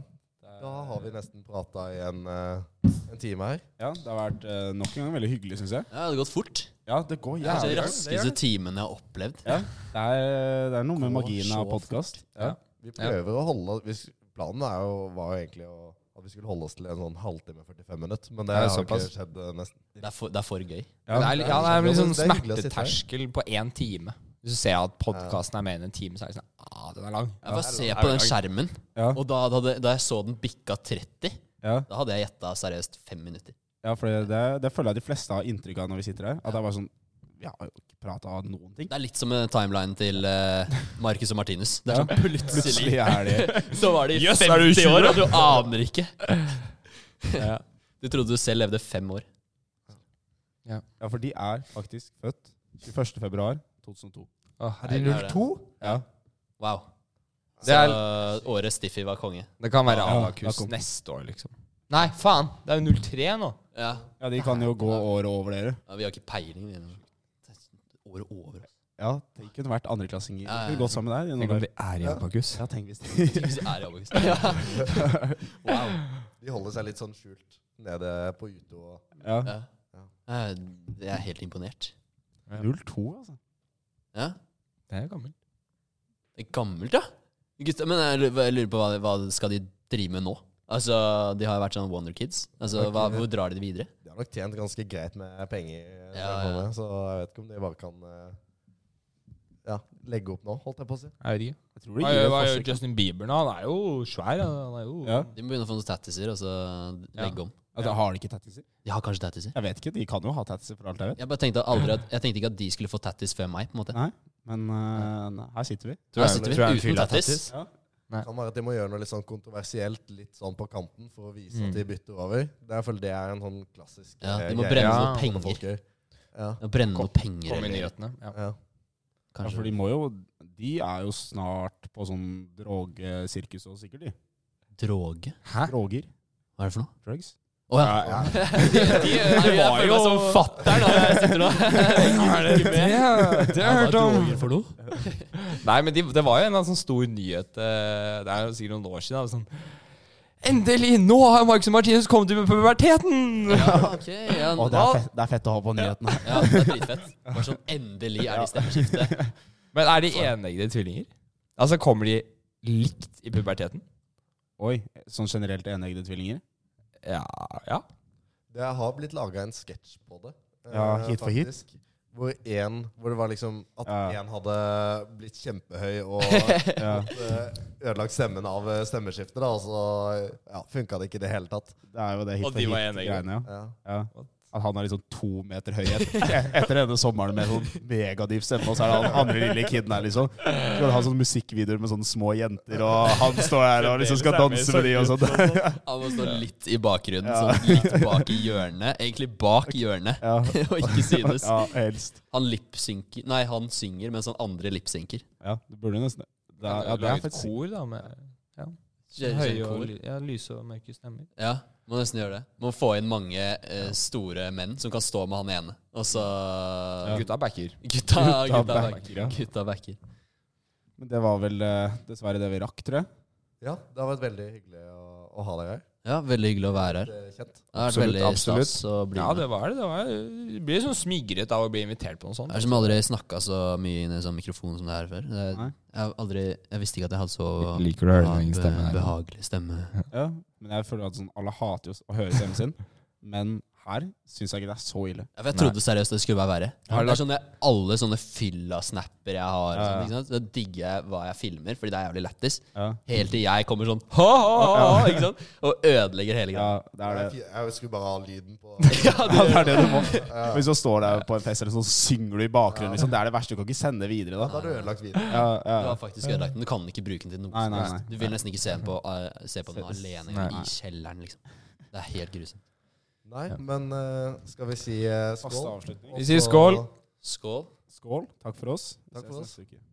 Da har vi nesten prata i en, eh, en time her. Ja, det har vært eh, nok en gang veldig hyggelig, syns jeg. Ja, det har gått fort. Ja, det går Det er jævlig den fort. raskeste timen jeg har opplevd. Ja, Altså, det er, det er noe med magien av podkast. Ja. Vi prøver å holde hvis, Planen er jo, var jo egentlig å, at vi skulle holde oss til en sånn halvtime 45 minutter, men det Det har er jo ikke såpass. skjedd eh, nesten. Det er for, det er for gøy. Ja, det er, litt- ja, det er litt sånn Det er hyggelig å sitte her. smerteterskel på én time. Hvis du ser at podkasten er mer enn en time, så er det sånn ah, den er lang. Jeg bare se Ja, på den den er lang. skjermen, og da, da, hadde- da jeg så den bikka 30, Ja. da hadde jeg gjetta seriøst fem minutter. Ja, for det, det, det føler jeg de fleste har inntrykk av når vi sitter her. At det er bare sånn Vi har jo ikke prata av noen ting. Det er litt som en timeline til eh, Marcus og Martinus. Det er Ja. sånn plutselig, Plutselig er de- Så var de Jøss, er du 50 20? år, og du aner ikke. Ja. Du trodde du selv levde fem år. Ja. for de er faktisk født 21. februar 2002. er de 02? Ja. Wow. Så Det er- året Stiffy var konge. Det kan være Ja, da Abakus kom- neste år, liksom. Nei, faen! Det er jo 03 nå. Ja. Ja, de kan jo gå året over dere. Ja, vi har ikke peiling. vi. Året over. Ja, de kunne vært andreklassinger. Ja, ja. Kunne gått sammen der. i noen Tenk om år. de er i Abakus. Ja, tenk hvis de Tenk hvis de er i Abakus. Ja. Wow. De holder seg litt sånn skjult nede på Uto. og- Ja. Eh, Jeg er helt imponert. 02, altså. Ja. Det er gammelt. Det er gammelt, ja. Gutta, men jeg lurer jeg lurer på hva, hva skal de drive med nå? Altså, De har jo vært sånn Wonder Kids. Altså, hva, Hvor drar de det videre? De har nok tjent ganske greit med penger, eh, Ja, ja. så jeg vet ikke om de bare kan eh, ja, legge opp nå, holdt jeg på å si. Jeg vet ikke. tror de Hva gir gjør- det hva et gjør forsøk, da. Justin Bieber nå? Han er jo svær. ja. Han er jo De må begynne å få noen tattiser og så legge om. Altså, Har de ikke tattiser? De har kanskje tattiser. Jeg vet ikke, de kan jo ha tattiser for alt jeg vet. Jeg bare tenkte aldri at, jeg tenkte ikke at de skulle få tattis før meg. på en måte. Nei, men eh, nei, her sitter vi. Her sitter vi uten tattis. Ja. Det kan være at de må gjøre noe litt sånn kontroversielt, litt sånn på kanten, for å vise Mm. at de bytter over. Det er, føler det er en sånn klassisk Ja, eh, de må greie brenne som noe sånne penger. folk gjør. Ja. De må brenne noe penger. Kom i eller- nyhetene. Ja. Ja. Ja, for de må jo De er jo snart på sånn drogesirkus og sikkert, de. Droge? Hæ? Droger. Hva er det for noe? Drugs. Å ja. De, de, Nei, de jeg var føler jo meg som fatter'n, da, når jeg sitter nå. Hva er det- det- Ikke med. det har jeg Ja, hva hørt om. droger for noe? Nei, men de, det var jo en eller annen sånn stor nyhet eh, Det er jo sikkert noen år siden. da, Sånn Endelig! Nå har Marcus og Martinus kommet ut med puberteten! Ja, ok, ja. Å, det, er fett, det er fett å ha på nyhetene. Ja, det er dritfett. Bare sånn endelig er det i stemmeskiftet. Men er de eneggede tvillinger? Altså, kommer de likt i puberteten? Oi, sånn generelt eneggede tvillinger? Ja, ja. Det har blitt laga en sketsj på det. eh, Ja, hit for hit. faktisk. Hvor, en, hvor det var liksom at Ja. én hadde blitt kjempehøy og Ja. fått, eh, ødelagt stemmen av eh, stemmeskiftet, da, og så ja, funka det ikke i det hele tatt. Det er jo det hit Og de for var hit eneggede. greiene, ja. Ja. ja. At han er liksom to meter høy etter, etter denne sommeren med sånn megadyp stemme, og så er det han andre lille kiden her, liksom. Skal ha sånne musikkvideoer med sånne små jenter, og han står her og liksom skal danse med de og sånn. Han må stå litt i bakgrunnen, sånn litt bak i hjørnet. Egentlig bak hjørnet, Ja. og ikke synes. Ja, helst. Han lipsynker Nei, han synger mens han andre lipsynker. Ja, det burde jo nesten det. Det er- Ja, ja det er Laget faktisk kor, da, med ja. Kjører høye sånn kor. og ly- ja, lyse og mørke stemmer. Ja, må nesten gjøre det. Må få inn mange eh, store menn som kan stå med han ene, og så Gutta backer. Gutta, Gutta gutta backer, ja. backer. Gutta backer. Men det var vel eh, dessverre det vi rakk, tror jeg. Ja, det har vært veldig hyggelig å, å ha deg her. Ja, veldig hyggelig å være her. Eh, Kjent. Det har vært Absolutt, veldig absolutt. stas å bli Ja, med. det var det. Det, var, det blir sånn smigret av å bli invitert på noe sånt. Jeg har som aldri snakka så mye inn i en sånn mikrofon som det her før. Jeg, Nei. jeg, har aldri, jeg visste ikke at jeg hadde så Liker du å høre beha- din egen stemme her? behagelig stemme. Ja, men jeg føler at sånn, alle hater jo s- å høre stemmen sin. Men her syns jeg ikke det er så ille. Ja, for jeg trodde seriøst det skulle være verre. Har du det er lagt- sånne, alle sånne fylla-snapper jeg har, Ja, og ja. sånt, ikke sant? da digger jeg hva jeg filmer, fordi det er jævlig lættis. Ja. Helt til jeg kommer sånn ha, ha, ha, ha, ikke sant? og ødelegger hele greia. Jeg, jeg skulle bare ha lyden på Ja, det, er det du må. Ja. Hvis du står der på en fest, eller sånn, så synger du i bakgrunnen. Liksom. Det er det verste. Du kan ikke sende videre da. Da har du ødelagt videoen. Ja, ja. Du har faktisk ødelagt den. Du kan ikke bruke den til noe Nei, som nei, helst. nei. Du vil nesten ikke se, den på, eh, se på den alene Nei. i kjelleren, liksom. Det er helt grusomt. Nei, men eh, skal vi si eh, skål? Faste avslutning. Og Vi sier så- skål. Skål. Skål. Takk for oss. Vi Takk ses for neste oss. uke.